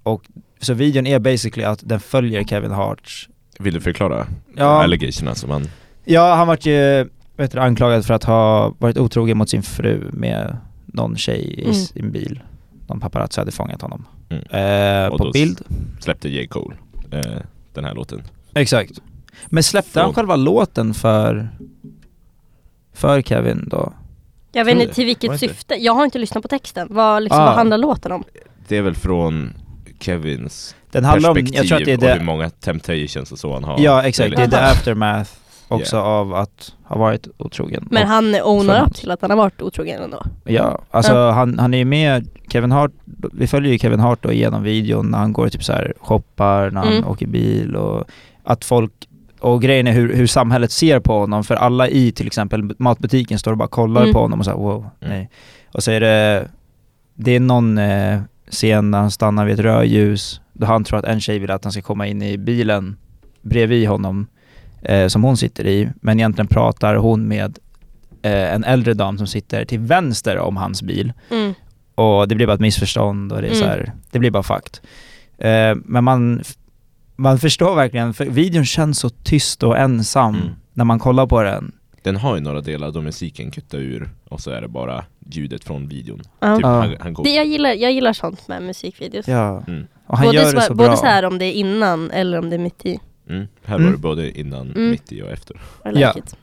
Speaker 2: Och så videon är basically att den följer Kevin Harts
Speaker 3: Vill du förklara
Speaker 2: Ja.
Speaker 3: allegationerna som han...
Speaker 2: Ja, han vart ju vet du, anklagad för att ha varit otrogen mot sin fru med någon tjej i
Speaker 1: Mm.
Speaker 2: sin bil. Någon paparazzi hade fångat honom.
Speaker 3: Mm.
Speaker 2: Eh,
Speaker 3: Och
Speaker 2: på
Speaker 3: då s-
Speaker 2: bild.
Speaker 3: släppte J. Cole eh, den här låten
Speaker 2: Exakt. Men släppte han
Speaker 3: Från-
Speaker 2: själva låten för, för Kevin då?
Speaker 1: Jag vet
Speaker 3: Tror
Speaker 1: inte till
Speaker 3: det. Var
Speaker 1: vilket
Speaker 3: det inte?
Speaker 1: syfte, jag har inte lyssnat på texten. Vad, liksom,
Speaker 2: Ah.
Speaker 1: vad handlar låten om?
Speaker 3: Det är väl från Kevins
Speaker 2: Den handlar om,
Speaker 3: perspektiv
Speaker 2: jag tror att det är
Speaker 3: och hur
Speaker 2: det,
Speaker 3: många temptations och så han har
Speaker 2: ja exakt, det är
Speaker 3: lite-
Speaker 2: the aftermath också av att ha varit otrogen.
Speaker 1: Men
Speaker 3: Ah,
Speaker 2: Och-
Speaker 1: han
Speaker 2: för
Speaker 1: ownar upp
Speaker 2: något.
Speaker 1: till att han har varit otrogen ändå.
Speaker 2: Ja, alltså
Speaker 1: Ja.
Speaker 2: Han, han är ju med Kevin Hart, vi följer ju Kevin Hart då genom videon när han går och typ så här shoppar, när han
Speaker 1: Mm.
Speaker 2: åker bil och att folk och grejen är hur, hur samhället ser på honom, för alla i till exempel matbutiken står och bara kollar
Speaker 1: Mm.
Speaker 2: på honom och säger wow,
Speaker 3: Mm.
Speaker 2: nej. Och så är det, det är någon eh, scen när han stannar vid ett rödljus, då han tror att en tjej vill att han ska komma in i bilen bredvid honom, eh, som hon sitter i, men egentligen pratar hon med eh, en äldre dam som sitter till vänster om hans bil.
Speaker 1: Mm.
Speaker 2: Och det blir bara ett missförstånd och det är
Speaker 1: Mm.
Speaker 2: så här, det blir bara fakt. Eh, men man, f- man förstår verkligen, för videon känns så tyst och ensam
Speaker 3: Mm.
Speaker 2: när man kollar på den.
Speaker 3: Den har ju några delar då musiken kuttar ur och så är det bara ljudet från videon
Speaker 1: Ja.
Speaker 3: typ,
Speaker 2: Ja.
Speaker 3: han, han går,
Speaker 1: Det, jag, gillar, jag gillar sånt med musikvideos.
Speaker 2: Ja.
Speaker 3: Mm.
Speaker 2: Och han
Speaker 1: både
Speaker 2: gör det
Speaker 1: så,
Speaker 2: så bra.
Speaker 1: både så här om det är innan eller om det är mitt i.
Speaker 3: mm, Här
Speaker 2: Mm.
Speaker 3: var det både innan,
Speaker 1: Mm.
Speaker 3: mitt i och efter
Speaker 1: I like
Speaker 2: Ja.
Speaker 1: it.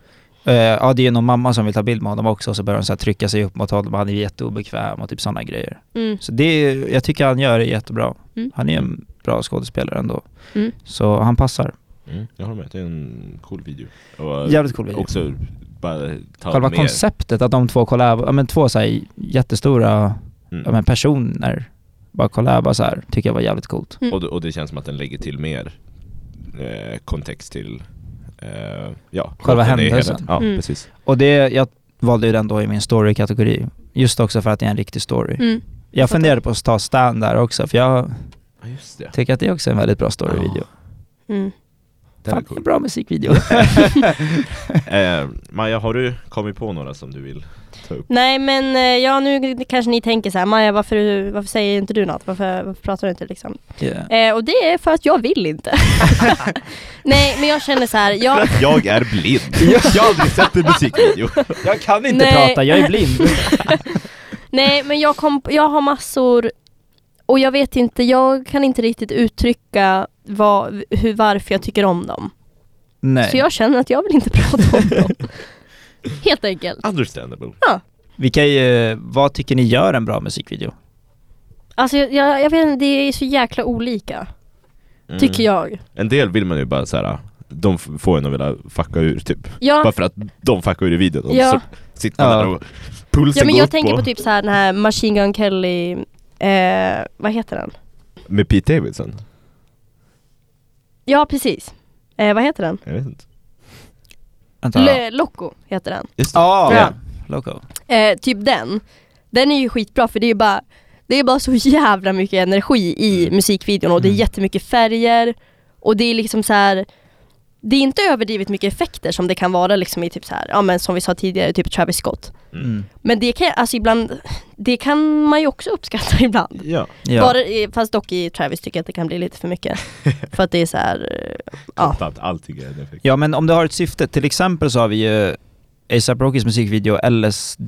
Speaker 2: Eh, ja, det är någon mamma som vill ta bild med honom också och så börjar hon så här trycka sig upp mot honom och han är jätteobekväm och typ sådana grejer.
Speaker 1: Mm.
Speaker 2: Så det, är- jag tycker han gör det jättebra.
Speaker 1: Mm.
Speaker 2: Han är en bra skådespelare ändå.
Speaker 1: Mm.
Speaker 2: Så han passar.
Speaker 3: mm. Jag håller med, det är en cool video och
Speaker 2: Jävligt cool video.
Speaker 3: Också bara ta
Speaker 2: Själva
Speaker 3: med
Speaker 2: konceptet att de två kollab, ja, men två så här jättestora
Speaker 3: Mm.
Speaker 2: ja, men personer bara kollaba så här tycker jag var jävligt coolt.
Speaker 1: Mm.
Speaker 3: och, det- och det känns som att den lägger till mer eh, kontext till eh, ja,
Speaker 2: Själva
Speaker 3: låten i
Speaker 2: händelsen.
Speaker 3: helhet. Ja,
Speaker 1: Mm.
Speaker 3: precis
Speaker 2: Och det, jag valde ju den då i min story-kategori. Just också för att det är en riktig story.
Speaker 1: Mm.
Speaker 2: Jag funderade på att ta stand där också för jag
Speaker 3: Ja just det,
Speaker 2: tycker att det är också en väldigt bra storyvideo.
Speaker 1: Mm.
Speaker 3: den är
Speaker 2: Fan,
Speaker 3: cool
Speaker 2: bra musikvideo.
Speaker 3: Eh, Maja, har du kommit på några som du vill ta upp?
Speaker 1: Nej men eh, ja nu kanske ni tänker så här, Maja varför, varför säger inte du något? Varför, varför pratar du inte liksom?
Speaker 2: yeah.
Speaker 1: Eh, och det är för att jag vill inte. Nej men jag känner så här, jag,
Speaker 3: Jag är blind! Jag har aldrig sett en musikvideo!
Speaker 2: Jag kan inte
Speaker 1: Nej.
Speaker 2: prata, jag är blind.
Speaker 1: nej men jag, kom, jag har massor och jag vet inte, jag kan inte riktigt uttrycka vad, hur, varför jag tycker om dem.
Speaker 2: Nej.
Speaker 1: Så jag känner att jag vill inte prata om dem. Helt enkelt.
Speaker 3: Understandable.
Speaker 2: Vi kan ju, vad tycker ni gör en bra musikvideo?
Speaker 1: Alltså jag, jag, jag vet inte, det är så jäkla olika.
Speaker 3: Mm.
Speaker 1: Tycker jag.
Speaker 3: En del vill man ju bara såhär, de f- får en att vilja fucka ur typ.
Speaker 1: Ja,
Speaker 3: Bara för att de fuckar ur i videon. Och
Speaker 1: Ja.
Speaker 3: så sitter man
Speaker 2: Ja.
Speaker 3: där och pulsen
Speaker 1: ja men
Speaker 3: går
Speaker 1: jag
Speaker 3: upp
Speaker 1: tänker
Speaker 3: och-
Speaker 1: på typ så här den här Machine Gun Kelly, eh, vad heter den?
Speaker 3: Med Pete Davidson?
Speaker 1: Ja precis. Eh, vad heter den?
Speaker 3: Jag vet inte.
Speaker 2: Antar jag.
Speaker 1: Le- Loco heter den.
Speaker 3: Just det.
Speaker 2: Ah,
Speaker 1: Ja.
Speaker 2: ja, Loco.
Speaker 1: Eh, typ den. Den är ju skitbra för det är bara Det är bara så jävla mycket energi i musikvideon och det är
Speaker 2: Mm.
Speaker 1: jättemycket färger och det är liksom så här. Det är inte överdrivet mycket effekter som det kan vara liksom i typ så här, ja men som vi sa tidigare, typ Travis Scott.
Speaker 2: Mm.
Speaker 1: Men det kan, alltså ibland, det kan man ju också uppskatta ibland.
Speaker 3: Ja.
Speaker 2: Ja.
Speaker 1: Bara, i- fast dock i Travis tycker jag att det kan bli lite för mycket. för att det är så här, eh, ja.
Speaker 3: Fattat, Typ Allting är en effekt.
Speaker 2: ja men om det har ett syfte, till exempel så har vi ju ASAP Rockys musikvideo LSD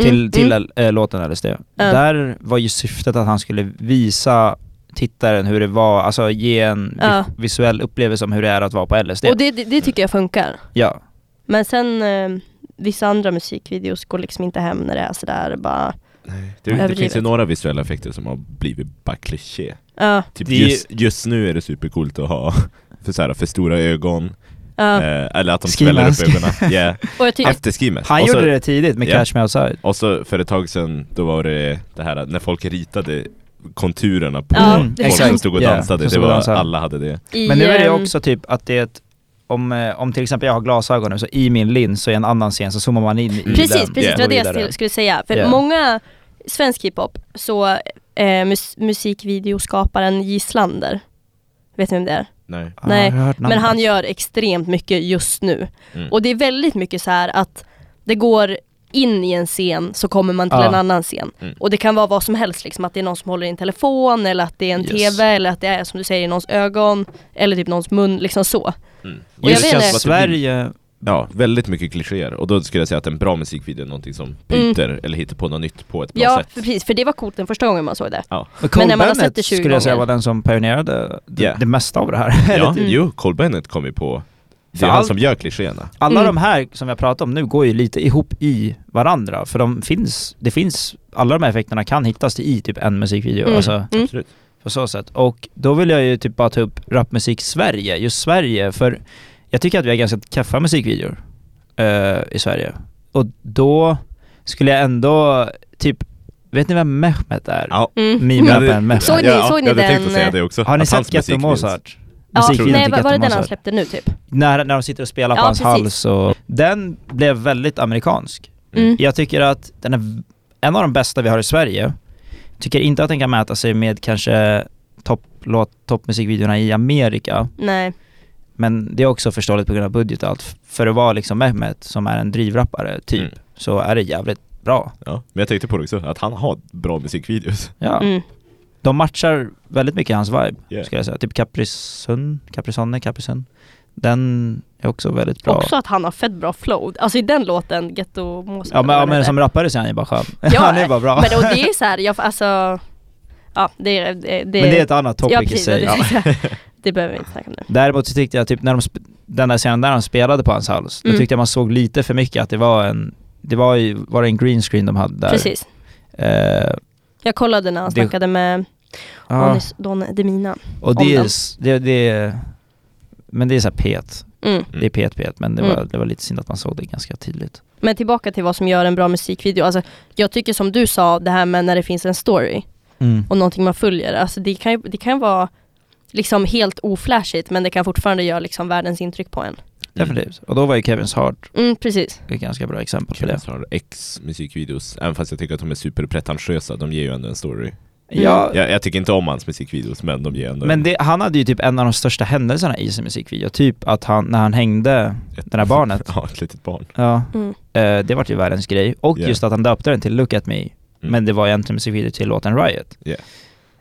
Speaker 2: till,
Speaker 1: Mm,
Speaker 2: till
Speaker 1: mm.
Speaker 2: eh, låten LSD. Där var ju syftet att han skulle visa tittaren hur det var, alltså ge en vi-
Speaker 1: Ja.
Speaker 2: visuell upplevelse om hur det är att vara på LSD.
Speaker 1: Och det, det, det tycker jag funkar.
Speaker 2: Ja.
Speaker 1: Men sen eh, vissa andra musikvideos går liksom inte hem när det är sådär bara,
Speaker 3: Det, det
Speaker 1: Överdrivet.
Speaker 3: finns ju några visuella effekter som har blivit bara kliché.
Speaker 1: ja,
Speaker 3: Typ
Speaker 2: Det är ju-
Speaker 3: just, just nu är det supercoolt att ha för, så här, för stora ögon,
Speaker 1: ja.
Speaker 3: eh, eller att de
Speaker 2: Ski
Speaker 3: sväller upp
Speaker 2: mask.
Speaker 3: ögonen. Yeah.
Speaker 1: Och jag tycker,
Speaker 3: Efter ski mask.
Speaker 2: Han
Speaker 3: och, så,
Speaker 2: gjorde det tidigt med
Speaker 3: Ja.
Speaker 2: Catch Me Outside.
Speaker 3: och så för ett tag sedan, då var det det här när folk ritade konturerna på
Speaker 1: Ja,
Speaker 2: Mm,
Speaker 1: det
Speaker 3: folk som
Speaker 1: exakt.
Speaker 3: stod och
Speaker 2: Ja,
Speaker 3: dansade.
Speaker 2: som
Speaker 3: Det
Speaker 2: stod och
Speaker 3: var,
Speaker 2: dansade.
Speaker 3: alla hade det.
Speaker 1: i,
Speaker 2: Men nu är det
Speaker 1: ehm,
Speaker 2: också typ att det är ett, om, eh, om till exempel jag har glasögon nu, så i min lins så i en annan scen så zoomar man in i Mm, den.
Speaker 1: Precis, precis, det var
Speaker 2: och
Speaker 1: det jag
Speaker 2: vidare.
Speaker 1: skulle- skulle säga. För
Speaker 2: Ja.
Speaker 1: många svensk hiphop, så eh, mus- musikvideoskaparen Gislander, vet ni vem det är?
Speaker 3: Nej.
Speaker 2: Ja,
Speaker 1: Nej,
Speaker 2: Ah, jag har hört
Speaker 1: Men
Speaker 2: namnet.
Speaker 1: han gör extremt mycket just nu.
Speaker 3: Mm.
Speaker 1: Och det är väldigt mycket så här att det går in i en scen så kommer man till
Speaker 2: Ja.
Speaker 1: en annan scen.
Speaker 3: Mm.
Speaker 1: Och det kan vara vad som helst, liksom att det är någon som håller i en telefon eller att det är en
Speaker 2: Yes.
Speaker 1: TV eller att det är som du säger i någons ögon eller typ någons mun, liksom så.
Speaker 3: Mm.
Speaker 1: Och jag
Speaker 2: Just
Speaker 1: vet
Speaker 2: jag
Speaker 1: inte.
Speaker 2: Sverige,
Speaker 3: Ja, väldigt mycket klichéer. Och då skulle jag säga att en bra musikvideo är någonting som byter eller hittar på något nytt på ett bra
Speaker 1: Mm. Ja,
Speaker 3: sätt.
Speaker 1: precis, för det var coolt den första gången man såg det.
Speaker 2: och Cole
Speaker 1: när man har sett
Speaker 2: Bennett
Speaker 1: det 20
Speaker 2: skulle jag säga
Speaker 1: gånger.
Speaker 2: var den som pionerade det,
Speaker 3: Yeah.
Speaker 2: det mesta av det här.
Speaker 3: Ja,
Speaker 1: Mm.
Speaker 3: jo, Cole Bennett kom ju på det
Speaker 2: För
Speaker 3: är han
Speaker 2: allt-
Speaker 3: som gör klichéerna.
Speaker 2: Alla
Speaker 1: Mm.
Speaker 2: de här som jag pratar om nu går ju lite ihop i varandra, för de finns, det finns, alla de här effekterna kan hittas i typ en musikvideo.
Speaker 1: Mm.
Speaker 2: Alltså,
Speaker 1: Mm.
Speaker 3: Absolut.
Speaker 2: På så sätt. Och då vill jag ju typ bara ta upp rapmusik Sverige, just Sverige, för jag tycker att vi har ganska kaffa musikvideor eh, i Sverige. Och då skulle jag ändå typ, vet ni vem Mehmet är?
Speaker 3: Ja.
Speaker 1: Mm.
Speaker 2: Meme-rappen Mehmet.
Speaker 1: Såg ni-
Speaker 3: ja,
Speaker 1: såg ni
Speaker 3: jag hade
Speaker 1: den, eh,
Speaker 3: tänkt att säga det också.
Speaker 2: Har ni
Speaker 3: Att hans
Speaker 2: sett Ghetto
Speaker 3: musik finns.
Speaker 2: Mozart?
Speaker 1: Ja,
Speaker 2: Musikvideon
Speaker 1: nej,
Speaker 2: till
Speaker 1: var var det
Speaker 2: Ghetto
Speaker 1: den han
Speaker 2: Mozart.
Speaker 1: släppte nu typ?
Speaker 2: När, när de sitter och spelar
Speaker 1: Ja,
Speaker 2: på hans
Speaker 1: precis.
Speaker 2: hals och... Den blev väldigt amerikansk.
Speaker 1: Mm.
Speaker 2: Jag tycker att den är v- en av de bästa vi har i Sverige. Tycker inte att den kan mäta sig med kanske topplåt, toppmusikvideorna i Amerika.
Speaker 1: Nej.
Speaker 2: Men det är också förståeligt på grund av budget och allt. F- För att vara liksom Mehmet, som är en drivrappare typ,
Speaker 3: Mm.
Speaker 2: så är det jävligt bra.
Speaker 3: Ja, men jag tänkte på det också, att han har bra musikvideos.
Speaker 2: Ja.
Speaker 1: Mm.
Speaker 2: De matchar väldigt mycket hans vibe,
Speaker 3: Yeah.
Speaker 2: skulle jag säga. Typ Caprisund, Caprisonne, Caprisund. Den är också väldigt bra.
Speaker 1: Också att han har fett bra flow. Alltså i den låten, Ghetto Mozart.
Speaker 2: Ja men, ja,
Speaker 1: eller vad
Speaker 2: men
Speaker 1: den
Speaker 2: som rappare så är han ju bara skön.
Speaker 1: Ja,
Speaker 2: han är bara bra.
Speaker 1: Men och det är så här, jag, alltså, ja det är... Det, det,
Speaker 2: Men det är ett annat topic
Speaker 1: ja,
Speaker 2: i
Speaker 1: precis,
Speaker 2: sig.
Speaker 1: det,
Speaker 2: Ja.
Speaker 1: det behöver vi inte snacka om nu.
Speaker 2: Däremot så tyckte jag typ när de sp- den där scenen där han spelade på hans hals,
Speaker 1: Mm.
Speaker 2: då tyckte jag man såg lite för mycket att det var en, det var ju, var det en green screen de hade där?
Speaker 1: Precis.
Speaker 2: Eh,
Speaker 1: Jag kollade när han
Speaker 2: Det-
Speaker 1: snackade med
Speaker 2: ja.
Speaker 1: Anis Don Demina.
Speaker 2: Och
Speaker 1: om
Speaker 2: det är,
Speaker 1: den.
Speaker 2: s- det, det är, men det är såhär pet,
Speaker 1: Mm.
Speaker 2: det är pet pet men det,
Speaker 1: Mm.
Speaker 2: var, det var lite synd att man såg det ganska tydligt.
Speaker 1: Men tillbaka till vad som gör en bra musikvideo. Alltså, jag tycker som du sa, det här med när det finns en story och någonting man följer. Alltså, det, kan ju, det kan vara liksom helt oflashigt men det kan fortfarande göra liksom världens intryck på en.
Speaker 2: Definitivt. Och då var ju Kevins Heart
Speaker 1: Mm, precis.
Speaker 2: ett ganska bra exempel på det.
Speaker 3: Kevin har X musikvideos, även fast jag tycker att de är superpretentiösa, de ger ju ändå en story.
Speaker 1: Mm.
Speaker 2: Ja,
Speaker 3: Jag, jag tycker inte om hans musikvideos, men de ger ändå
Speaker 2: men det, han hade ju typ en av de största händelserna i sin musikvideo, typ att han, när han hängde
Speaker 3: ett,
Speaker 2: det där barnet.
Speaker 3: Ja, ett litet barn.
Speaker 2: Ja,
Speaker 1: Mm.
Speaker 2: eh, det vart ju världens grej. Och
Speaker 3: Yeah. Mm.
Speaker 2: just att han döpte den till Look at me, men det var egentligen musikvideo till låten Riot.
Speaker 3: Yeah.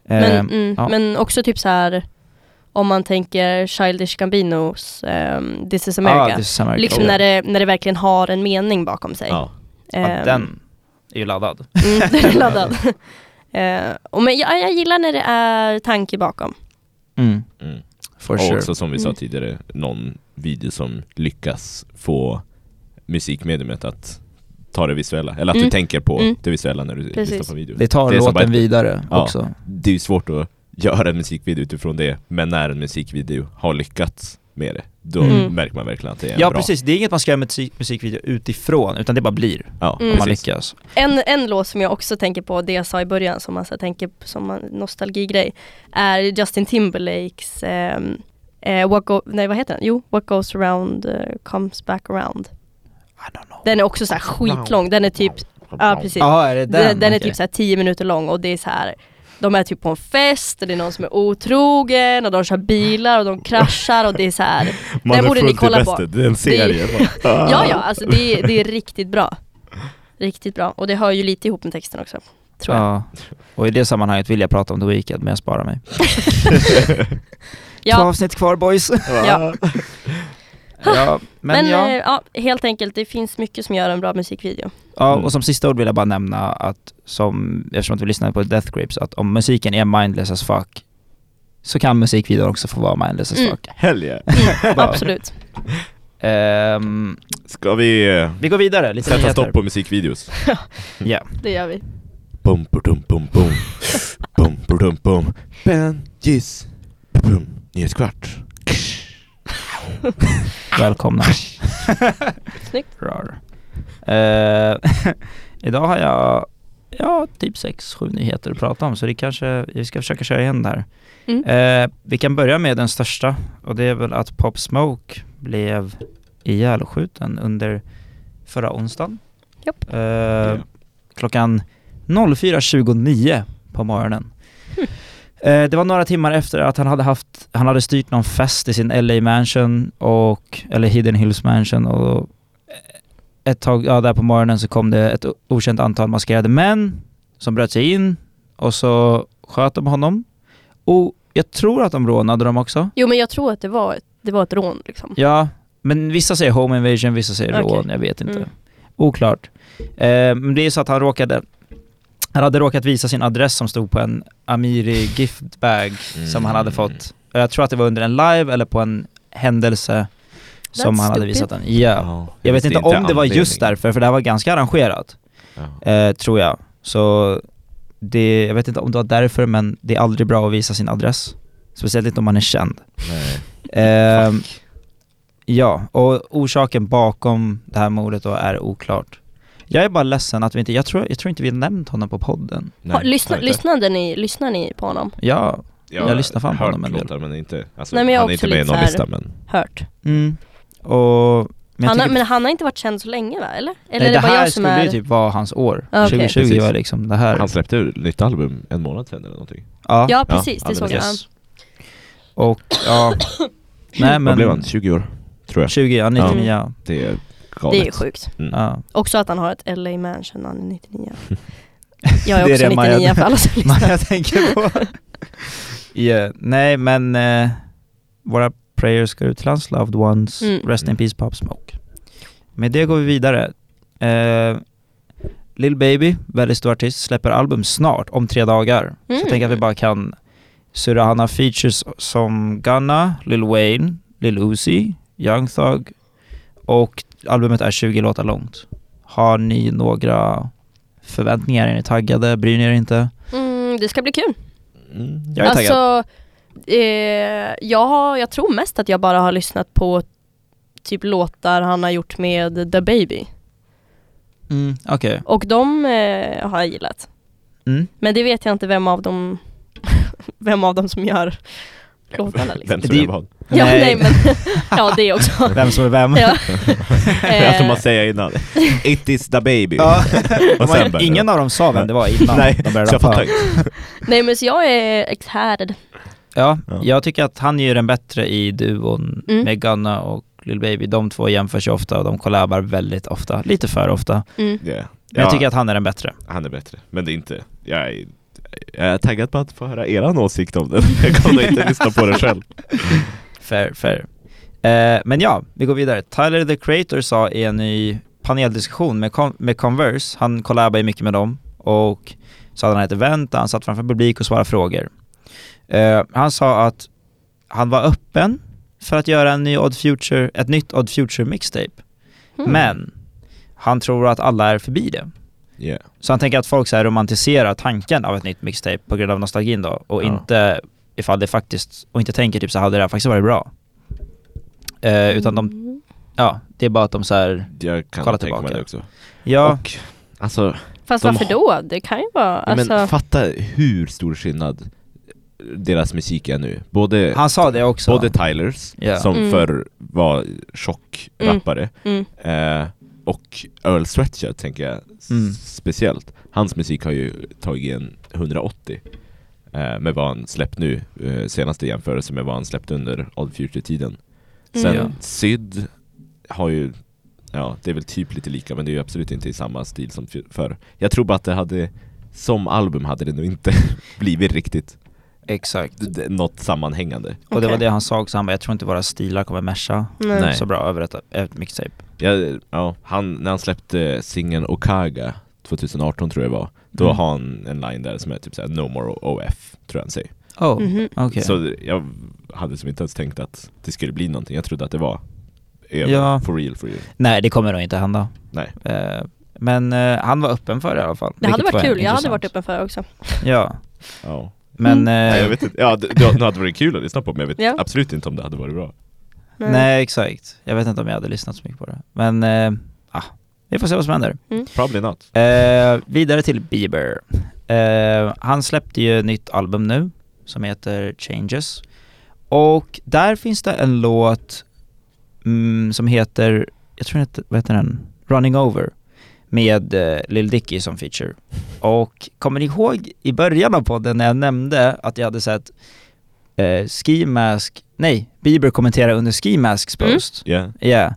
Speaker 1: Men,
Speaker 2: Eh,
Speaker 1: mm,
Speaker 2: ja.
Speaker 1: men också typ så här om man tänker Childish Gambinos ehm, This is America.
Speaker 2: Ah, this is America.
Speaker 1: liksom
Speaker 2: Oh.
Speaker 1: när det, när det verkligen har en mening bakom sig.
Speaker 3: Ja.
Speaker 2: ja,
Speaker 1: Ehm,
Speaker 2: den är ju laddad.
Speaker 1: Mm, den är laddad. Eh, och men jag, jag gillar när det är tanke bakom.
Speaker 2: Mm.
Speaker 3: Mm. Oh,
Speaker 2: For
Speaker 3: Och
Speaker 2: sure.
Speaker 3: också som vi sa
Speaker 1: Mm.
Speaker 3: tidigare, någon video som lyckas få musikmediumet att ta det visuella, eller att
Speaker 1: Mm.
Speaker 3: du tänker på
Speaker 1: Mm.
Speaker 3: det visuella när du
Speaker 1: Precis.
Speaker 3: lyssnar på videon.
Speaker 2: Det tar
Speaker 3: är som bara
Speaker 2: låten
Speaker 3: ett-
Speaker 2: vidare
Speaker 3: Ja.
Speaker 2: också.
Speaker 3: det är ju svårt att göra en musikvideo utifrån det, men när en musikvideo har lyckats med det, då
Speaker 1: Mm.
Speaker 3: märker man verkligen att det är en
Speaker 2: Ja
Speaker 3: bra.
Speaker 2: precis, det är inget man ska göra med musik, musikvideo utifrån, utan det bara blir.
Speaker 3: Ja,
Speaker 1: Mm.
Speaker 2: Man
Speaker 3: precis.
Speaker 2: lyckas.
Speaker 1: En, en låt som jag också tänker på, det jag sa i början som man så här, tänker på som en nostalgigrej, är Justin Timberlakes ehm, eh, what go, nej, vad heter den? Jo, What goes around eh, comes back around.
Speaker 2: I don't know.
Speaker 1: Den är också så här skitlång, den är typ, ja precis.
Speaker 2: Jaha,
Speaker 3: Eh,
Speaker 2: är det
Speaker 1: Den,
Speaker 2: den?
Speaker 1: den, är
Speaker 2: Okej.
Speaker 1: typ så här 10 minuter lång och det är så här de är typ på en fest och det är någon som är otrogen och de kör bilar och de kraschar och det är så här.
Speaker 3: Man
Speaker 1: Den
Speaker 3: är
Speaker 1: borde ni
Speaker 3: fullt i
Speaker 1: kolla på.
Speaker 3: väster, Det är en serie.
Speaker 1: Ja, ja, alltså det, är- det är riktigt bra. Riktigt bra. Och det hör ju lite ihop med texten också. tror jag.
Speaker 2: Ja. Och i det sammanhanget vill jag prata om The Weeknd, men jag sparar mig. Två
Speaker 1: Ja,
Speaker 2: avsnitt kvar boys!
Speaker 1: ja.
Speaker 2: ja, men,
Speaker 1: Men
Speaker 2: ja.
Speaker 1: eh, ja, helt enkelt, det finns mycket som gör en bra musikvideo.
Speaker 2: ja,
Speaker 3: Mm.
Speaker 2: och som sista ord vill jag bara nämna att, som, eftersom att vi lyssnade på Death Grips, att om musiken är mindless as fuck, så kan musikvideon också få vara mindless as
Speaker 1: Mm.
Speaker 2: fuck.
Speaker 3: Hell yeah.
Speaker 1: Absolut.
Speaker 2: Ehm,
Speaker 3: Ska vi eh,
Speaker 2: vi går vidare, lite
Speaker 3: sätta
Speaker 2: nyheter.
Speaker 3: stopp på musikvideos?
Speaker 1: Det gör vi.
Speaker 3: Bum, bum, bum, bum. bum, bum, bum. Ben, giss. Bum, nyhetskvart.
Speaker 2: Välkomna.
Speaker 1: Snyggt.
Speaker 2: Rar. Eh, idag har jag ja, typ sex sju nyheter att prata om, så det kanske, vi ska försöka köra igen där.
Speaker 1: Mm.
Speaker 2: Eh, vi kan börja med den största, och det är väl att Pop Smoke blev ihjälskjuten under förra onsdagen.
Speaker 1: Japp.
Speaker 2: Eh, Klockan 04.29 på morgonen. Eh, Det var några timmar efter att han hade haft, han hade styrt någon fest i sin LA mansion och, eller Hidden Hills mansion och eh, ett tag, ja där på morgonen så kom det ett o- okänt antal maskerade män som bröt sig in och så sköt de honom. Och jag tror att de rånade dem också.
Speaker 1: Jo men jag tror att det var, det var ett rån liksom.
Speaker 2: Ja, men vissa säger home invasion, vissa säger
Speaker 1: Okej.
Speaker 2: rån, jag vet inte.
Speaker 1: Mm.
Speaker 2: Oklart. Eh, men det är så att han råkade, han hade råkat visa sin adress som stod på en Amiri giftbag som han hade fått. Och jag tror att det var under en live eller på en händelse som
Speaker 1: That's
Speaker 2: han hade
Speaker 1: stupid.
Speaker 2: visat den. Ja.
Speaker 3: Ja,
Speaker 2: Jag vet
Speaker 3: visste
Speaker 2: inte om det var just
Speaker 3: anledningen.
Speaker 2: därför, för det här var ganska arrangerat,
Speaker 3: Ja.
Speaker 2: eh, tror jag. Så det, jag vet inte om det var därför, men det är aldrig bra att visa sin adress. Speciellt inte om man är känd.
Speaker 3: Nej.
Speaker 2: Ehm, ja, och orsaken bakom det här mordet då är oklart. Jag är bara ledsen att vi inte, jag tror, jag tror inte vi har nämnt honom på podden.
Speaker 3: Nej,
Speaker 1: Ha, lyssna,
Speaker 3: jag vet inte.
Speaker 1: lyssnade, ni, lyssnade ni på honom?
Speaker 2: Ja, jag lyssnar fan på
Speaker 3: hört
Speaker 2: honom en del.
Speaker 3: låtar, men inte, alltså,
Speaker 1: Nej, men jag
Speaker 3: han
Speaker 1: är
Speaker 3: är
Speaker 1: också
Speaker 3: inte med i
Speaker 1: lite
Speaker 3: någon
Speaker 1: så
Speaker 3: lista men
Speaker 1: Hört?
Speaker 2: mm. och... Men, jag
Speaker 1: han har,
Speaker 2: tycker- typ-
Speaker 1: men han har inte varit känd så länge va? Eller? Eller är
Speaker 2: nej, det
Speaker 1: det bara
Speaker 2: här
Speaker 1: jag som
Speaker 2: skulle
Speaker 1: är...
Speaker 2: ju typ vara hans år.
Speaker 1: Ja, okej.
Speaker 2: 2020
Speaker 3: Precis.
Speaker 2: var liksom det här.
Speaker 3: han släppte ju nytt album en månad sen eller någonting
Speaker 2: ja,
Speaker 1: Ja precis,
Speaker 3: ja,
Speaker 1: det såg
Speaker 3: men
Speaker 1: jag.
Speaker 2: yes. Och ja... nej men...
Speaker 3: Vad blev han? Mm. 20 år? Tror jag
Speaker 2: 20, ja, 99, ja.
Speaker 3: Det är
Speaker 1: Ja.
Speaker 3: galet Mm.
Speaker 1: Det är sjukt.
Speaker 2: ja.
Speaker 1: Också att han har ett LA Mansion när han är 99. Jag är
Speaker 2: Det
Speaker 1: också
Speaker 2: är det Maja-
Speaker 1: 99 för alla som
Speaker 2: man
Speaker 1: lyssnar.
Speaker 2: jag tänker på. yeah. Nej men eh, våra prayers går ut till hans loved ones.
Speaker 1: Mm.
Speaker 2: Rest in peace Pop Smoke. Med det går vi vidare. Eh, Lil Baby, väldigt stor artist, släpper album snart, om tre dagar. Så
Speaker 1: Mm.
Speaker 2: jag tänker att vi bara kan surra. Han har features som Gunna, Lil Wayne, Lil Uzi, Young Thug och albumet är 20 låtar långt. Har ni några förväntningar? Är ni taggade? Bryr ni er inte?
Speaker 1: Mm, det ska bli kul.
Speaker 3: Mm.
Speaker 2: Jag är taggad.
Speaker 1: Alltså, eh, jag, har, jag tror mest att jag bara har lyssnat på typ låtar han har gjort med The Baby.
Speaker 2: Mm, okej.
Speaker 1: Och de eh, har jag gillat.
Speaker 2: Mm.
Speaker 1: Men det vet jag inte vem av dem, vem av dem som gör låtarna liksom.
Speaker 3: Vem tror
Speaker 2: Det-
Speaker 3: jag var?
Speaker 1: Ja, nej men, ja det också.
Speaker 2: Vem som är vem.
Speaker 1: Ja.
Speaker 3: Jag tror
Speaker 1: Eh,
Speaker 3: man säger innan It is the baby
Speaker 2: Ja.
Speaker 3: Och sen
Speaker 2: Man,
Speaker 3: bara-
Speaker 2: ingen av dem sa vem det var innan
Speaker 3: Nej,
Speaker 2: de började
Speaker 3: så jag får
Speaker 2: rappa.
Speaker 3: tack.
Speaker 1: nej men så jag är excited.
Speaker 2: Ja,
Speaker 3: Ja.
Speaker 2: jag tycker att han är den bättre i duon
Speaker 1: Mm.
Speaker 2: med Gunna och Lil Baby. De två jämförs ju ofta och de collabar väldigt ofta. Lite för ofta. Men
Speaker 1: Mm.
Speaker 3: Yeah.
Speaker 2: jag
Speaker 3: Ja,
Speaker 2: tycker att han är den bättre.
Speaker 3: han är bättre, men det är inte Jag är, jag är taggad på att få höra eran åsikt om den Jag kommer inte lyssna på den själv
Speaker 2: Fair, fair. Eh, men ja, vi går vidare. Tyler the Creator sa i en ny paneldiskussion med, Con- med Converse, han collabar ju mycket med dem, och så hade han ett event där han satt framför publik och svarade frågor. Eh, han sa att han var öppen för att göra en ny Odd Future, ett nytt Odd Future mixtape.
Speaker 1: Mm.
Speaker 2: Men han tror att alla är förbi det.
Speaker 3: Yeah.
Speaker 2: Så han tänker att folk så här romantiserar tanken av ett nytt mixtape på grund av nostalgin då och
Speaker 3: Ja.
Speaker 2: inte ifall det faktiskt, och inte tänker typ så här, hade det här faktiskt varit bra? Eh, utan de,
Speaker 1: Mm.
Speaker 2: ja, det är bara att de så här,
Speaker 3: Jag kan
Speaker 2: Kolla
Speaker 3: tänka mig
Speaker 2: tillbaka.
Speaker 3: det också.
Speaker 2: ja,
Speaker 3: Och, alltså,
Speaker 1: Fast
Speaker 3: de
Speaker 1: varför då? Det kan ju vara... Alltså,
Speaker 3: men fatta hur stor skillnad deras musik är nu. Både,
Speaker 2: han sa det också.
Speaker 3: både Tylers,
Speaker 2: Alltså. Ja.
Speaker 3: som
Speaker 1: Mm.
Speaker 3: förr var tjockrappare,
Speaker 1: mm.
Speaker 3: eh, och Earl Sweatshirt tänker jag s-
Speaker 2: Mm.
Speaker 3: speciellt. Hans musik har ju tagit en 180 eh, med vad han släppt nu, eh, senaste jämförelse med vad han släppt under Old Future-tiden. Sen
Speaker 1: Mm.
Speaker 3: Syd har ju, ja det är väl typ lite lika men det är ju absolut inte i samma stil som f- förr. Jag tror bara att det hade, som album hade det nog inte blivit riktigt
Speaker 2: Exakt.
Speaker 3: d- d- något sammanhängande.
Speaker 2: Och det var
Speaker 1: Okej.
Speaker 2: det han sa också, han bara, jag tror inte våra stilar kommer mesha
Speaker 1: Nej.
Speaker 3: Nej.
Speaker 2: så bra över ett, ett mixtape.
Speaker 3: Jag, ja, han, när han släppte singeln Okaga 2018 tror jag det var, då
Speaker 2: Mm.
Speaker 3: har han en line där som är typ såhär No more OF, tror jag han säger.
Speaker 2: Oh,
Speaker 1: Mhm.
Speaker 2: okej.
Speaker 3: Så jag hade som inte ens tänkt att det skulle bli någonting, jag trodde att det var över,
Speaker 2: Ja.
Speaker 3: for real, for real.
Speaker 2: Nej, det kommer nog inte hända.
Speaker 3: Nej.
Speaker 2: Eh, men eh, han var öppen för det i alla fall.
Speaker 1: Det hade
Speaker 2: vilket
Speaker 1: varit
Speaker 2: var
Speaker 1: kul, jag hade
Speaker 2: intressant.
Speaker 1: varit öppen Mm. för det också.
Speaker 2: Ja,
Speaker 3: Ja.
Speaker 2: men...
Speaker 3: Nej, jag
Speaker 2: Eh,
Speaker 3: vet inte. Ja, det, det hade varit kul att lyssna på men jag vet
Speaker 1: Ja.
Speaker 3: absolut inte om det hade varit bra.
Speaker 1: Men-
Speaker 2: nej, exakt. Jag vet inte om jag hade lyssnat så mycket på det. Men, eh, ah, vi får se vad som händer.
Speaker 3: Probably not.
Speaker 2: Eh, vidare till Bieber. Eh, han släppte ju ett nytt album nu som heter Changes. Och där finns det en låt mm, som heter, jag tror den heter, vad heter den? Running Over med eh, Lil Dicky som feature. Och kommer ni ihåg i början av podden när jag nämnde att jag hade sett eh, Ski Mask, nej, Bieber kommentera under Ski Masks
Speaker 1: Mm.
Speaker 2: post.
Speaker 3: Yeah.
Speaker 2: Ja.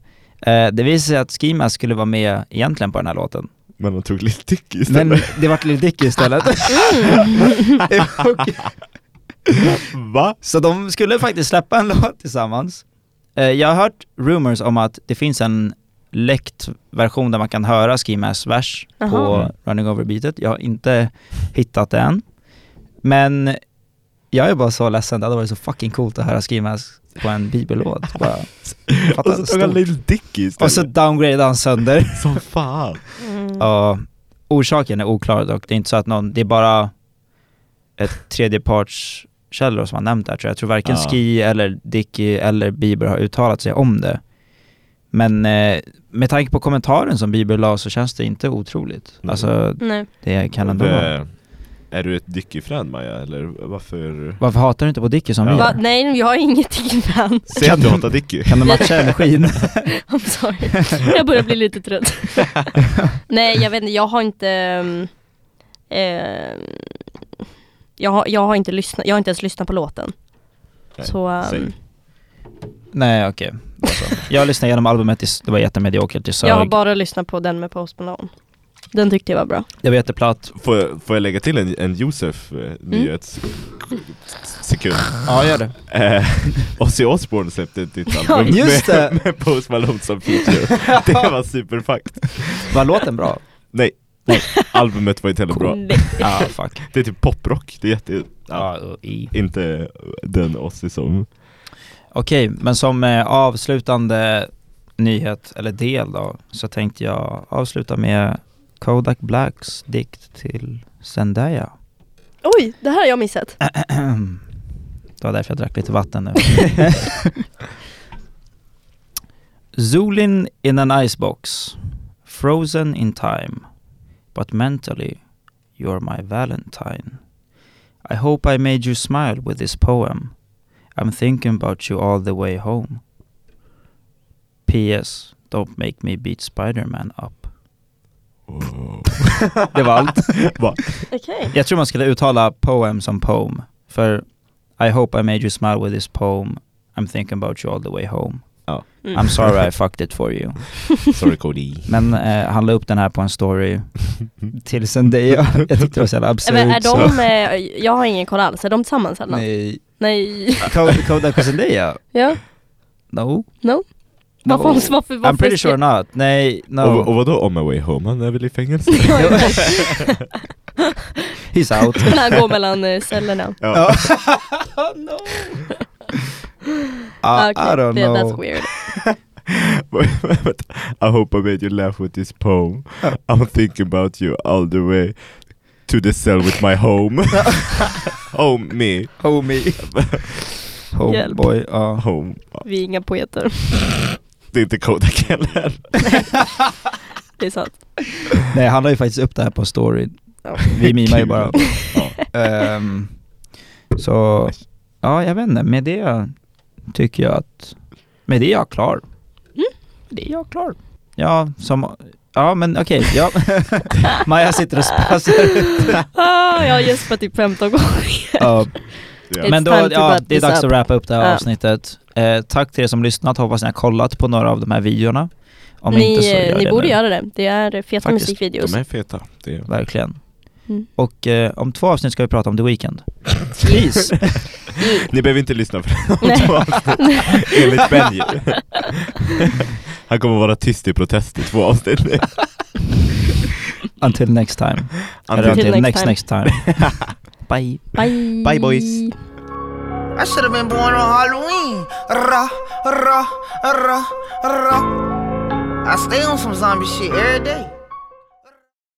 Speaker 2: Eh, det visade sig att Ski Mask skulle vara med egentligen på den här låten.
Speaker 3: Men de tog lite tick istället.
Speaker 2: Men det vart Lil Dicky istället. Mm. Och-
Speaker 3: Va?
Speaker 2: så de skulle faktiskt släppa en låt tillsammans. Eh, Jag har hört rumors om att det finns en läckt version där man kan höra Ski Masks vers
Speaker 1: Jaha.
Speaker 2: på Running Over Beatet. Jag har inte hittat det än. Men jag är bara så ledsen, det hade varit så fucking coolt att höra Ski Masks på en bibellåt. Bara,
Speaker 3: Och
Speaker 2: fatta,
Speaker 3: så tog han
Speaker 2: stort.
Speaker 3: Lil Dicky
Speaker 2: Och så
Speaker 3: istället.
Speaker 2: downgradeade han sönder.
Speaker 3: Som fan.
Speaker 1: Mm.
Speaker 2: Ja, orsaken är oklar dock. Det är inte så att någon, det är bara ett tredjepartskällor som har nämnt det här tror jag. Jag tror varken
Speaker 3: Ja.
Speaker 2: Ski eller Dicky eller Bieber har uttalat sig om det. Men eh, med tanke på kommentaren som Bieber la så känns det inte otroligt.
Speaker 3: Nej.
Speaker 2: Alltså
Speaker 1: Nej.
Speaker 2: det kan ändå vara.
Speaker 3: Det, Eh, är du ett Dicky-fan Maja eller varför?
Speaker 2: Varför hatar du inte på Dicky som
Speaker 3: Ja.
Speaker 2: vi
Speaker 1: Va?
Speaker 2: gör?
Speaker 1: Nej, jag är ingenting fan.
Speaker 3: Säg att du hatar Dicky.
Speaker 2: Kan du matcha energin?
Speaker 1: I'm sorry. Jag börjar bli lite trött. Nej, jag vet inte, jag har inte... ehm, ehm, jag, har, jag, har inte lyssnat, jag har inte ens lyssnat på låten.
Speaker 3: Nej,
Speaker 1: Så... ehm,
Speaker 3: säg.
Speaker 2: Nej okej. Då så. Jag lyssnade igenom albumet, i- det var jättemediokert, jag
Speaker 1: jag har
Speaker 2: sög.
Speaker 1: bara lyssnat på den med Post Malone. Den tyckte jag var bra.
Speaker 2: Det var jätteplatt.
Speaker 3: Får, jag- får jag lägga till en, en Josef eh,
Speaker 2: Mm.
Speaker 3: nyhetssekund?
Speaker 2: Ja gör det.
Speaker 3: Eh, Ozzy Osbourne släppte ett nytt
Speaker 1: Ja,
Speaker 3: album
Speaker 2: just
Speaker 3: med,
Speaker 2: det.
Speaker 3: med Post Malone som feature. Det var superfakt.
Speaker 2: Var låten bra?
Speaker 3: Nej, nej, albumet var inte heller bra.
Speaker 1: Nej.
Speaker 2: Ja fuck.
Speaker 3: Det är typ poprock, det är jätte... Ja.
Speaker 2: Ja, och i.
Speaker 3: Inte den Ozzy som...
Speaker 2: Okej, men som eh, avslutande nyhet, eller del då, så tänkte jag avsluta med Kodak Blacks dikt till Zendaya.
Speaker 1: Oj, det här har jag missat.
Speaker 2: Det var därför jag drack lite vatten nu. Zulin in an icebox, frozen in time, but mentally you're my valentine. I hope I made you smile with this poem. I'm thinking about you all the way home. P.S. Don't make me beat Spider-Man up. Det var allt.
Speaker 3: Va?
Speaker 1: Okej.
Speaker 2: Jag tror man skulle uttala poem som poem. För I hope I made you smile with this poem. I'm thinking about you all the way home.
Speaker 3: Ja.
Speaker 1: Mm.
Speaker 2: I'm sorry I fucked it for you.
Speaker 3: Sorry Cody.
Speaker 2: Men eh, han la upp den här på en story till Zendaya. Jag tyckte det var så jävla absurt.
Speaker 1: Men är
Speaker 2: så-
Speaker 1: de, eh, jag har ingen koll alls, är de tillsammans eller? Nej.
Speaker 2: Nej.
Speaker 1: Nej.
Speaker 2: Ko- Kodak och Zendaya?
Speaker 1: Ja.
Speaker 2: No.
Speaker 1: No. Varför,
Speaker 2: No.
Speaker 1: varför, varför?
Speaker 2: I'm pretty sure not. Nej, no.
Speaker 3: Och, och vadå On My Way Home? Han är väl i fängelse?
Speaker 2: He's out.
Speaker 1: När han går mellan eh, cellerna.
Speaker 3: Ja.
Speaker 2: Ja, I,
Speaker 1: Okay,
Speaker 2: Ah, I don't
Speaker 1: Ah, det-
Speaker 2: know.
Speaker 1: That's weird.
Speaker 3: I hope I made you laugh with this poem. I'm thinking about you all the way to the cell with my home. home me.
Speaker 2: Homie.
Speaker 1: Hjälp.
Speaker 2: Homeboy, ja.
Speaker 3: Home.
Speaker 1: Vi är inga poeter.
Speaker 3: Det är inte Kodak heller.
Speaker 1: Det är sant.
Speaker 2: Nej han la ju faktiskt upp det här på storyn.
Speaker 1: Ja.
Speaker 2: Vi mimar ju
Speaker 3: Kul.
Speaker 2: bara. Ehm, så, ja jag vet inte, med det tycker jag att, med det är jag klar. Det är jag klar. Ja, som, ja men okej, ja. Maja sitter och spassar ut.
Speaker 1: Ah, jag har gäspat typ 15 gånger.
Speaker 2: Ja.
Speaker 3: Ja.
Speaker 2: Men då,
Speaker 1: It's time to
Speaker 2: ja,
Speaker 1: wrap
Speaker 2: det är
Speaker 1: this
Speaker 2: dags
Speaker 1: up.
Speaker 2: att wrappa upp det här
Speaker 1: Ja.
Speaker 2: avsnittet. Eh, tack till er som lyssnat, hoppas ni har kollat på några av de här videorna. Om
Speaker 1: ni eh,
Speaker 2: inte så gör
Speaker 1: ni
Speaker 2: det
Speaker 1: borde
Speaker 2: nu.
Speaker 1: göra det. Det är feta
Speaker 2: Faktiskt.
Speaker 1: musikvideos.
Speaker 5: De är feta. Det är...
Speaker 2: Verkligen.
Speaker 1: Mm.
Speaker 2: Och eh, om två avsnitt ska vi prata om The Weeknd. Please!
Speaker 3: Ni behöver inte lyssna på
Speaker 1: Nej.
Speaker 3: enligt Benji. Han kommer vara tyst i protest i två avsnitt.
Speaker 2: Until next time. Eller
Speaker 3: Antingen
Speaker 1: Until
Speaker 2: until
Speaker 1: next
Speaker 2: next next time. Bye.
Speaker 1: Bye.
Speaker 3: Bye, boys.
Speaker 6: I should have been born on Halloween. Ra, ra, ra, ra. I stay on some zombie shit every day.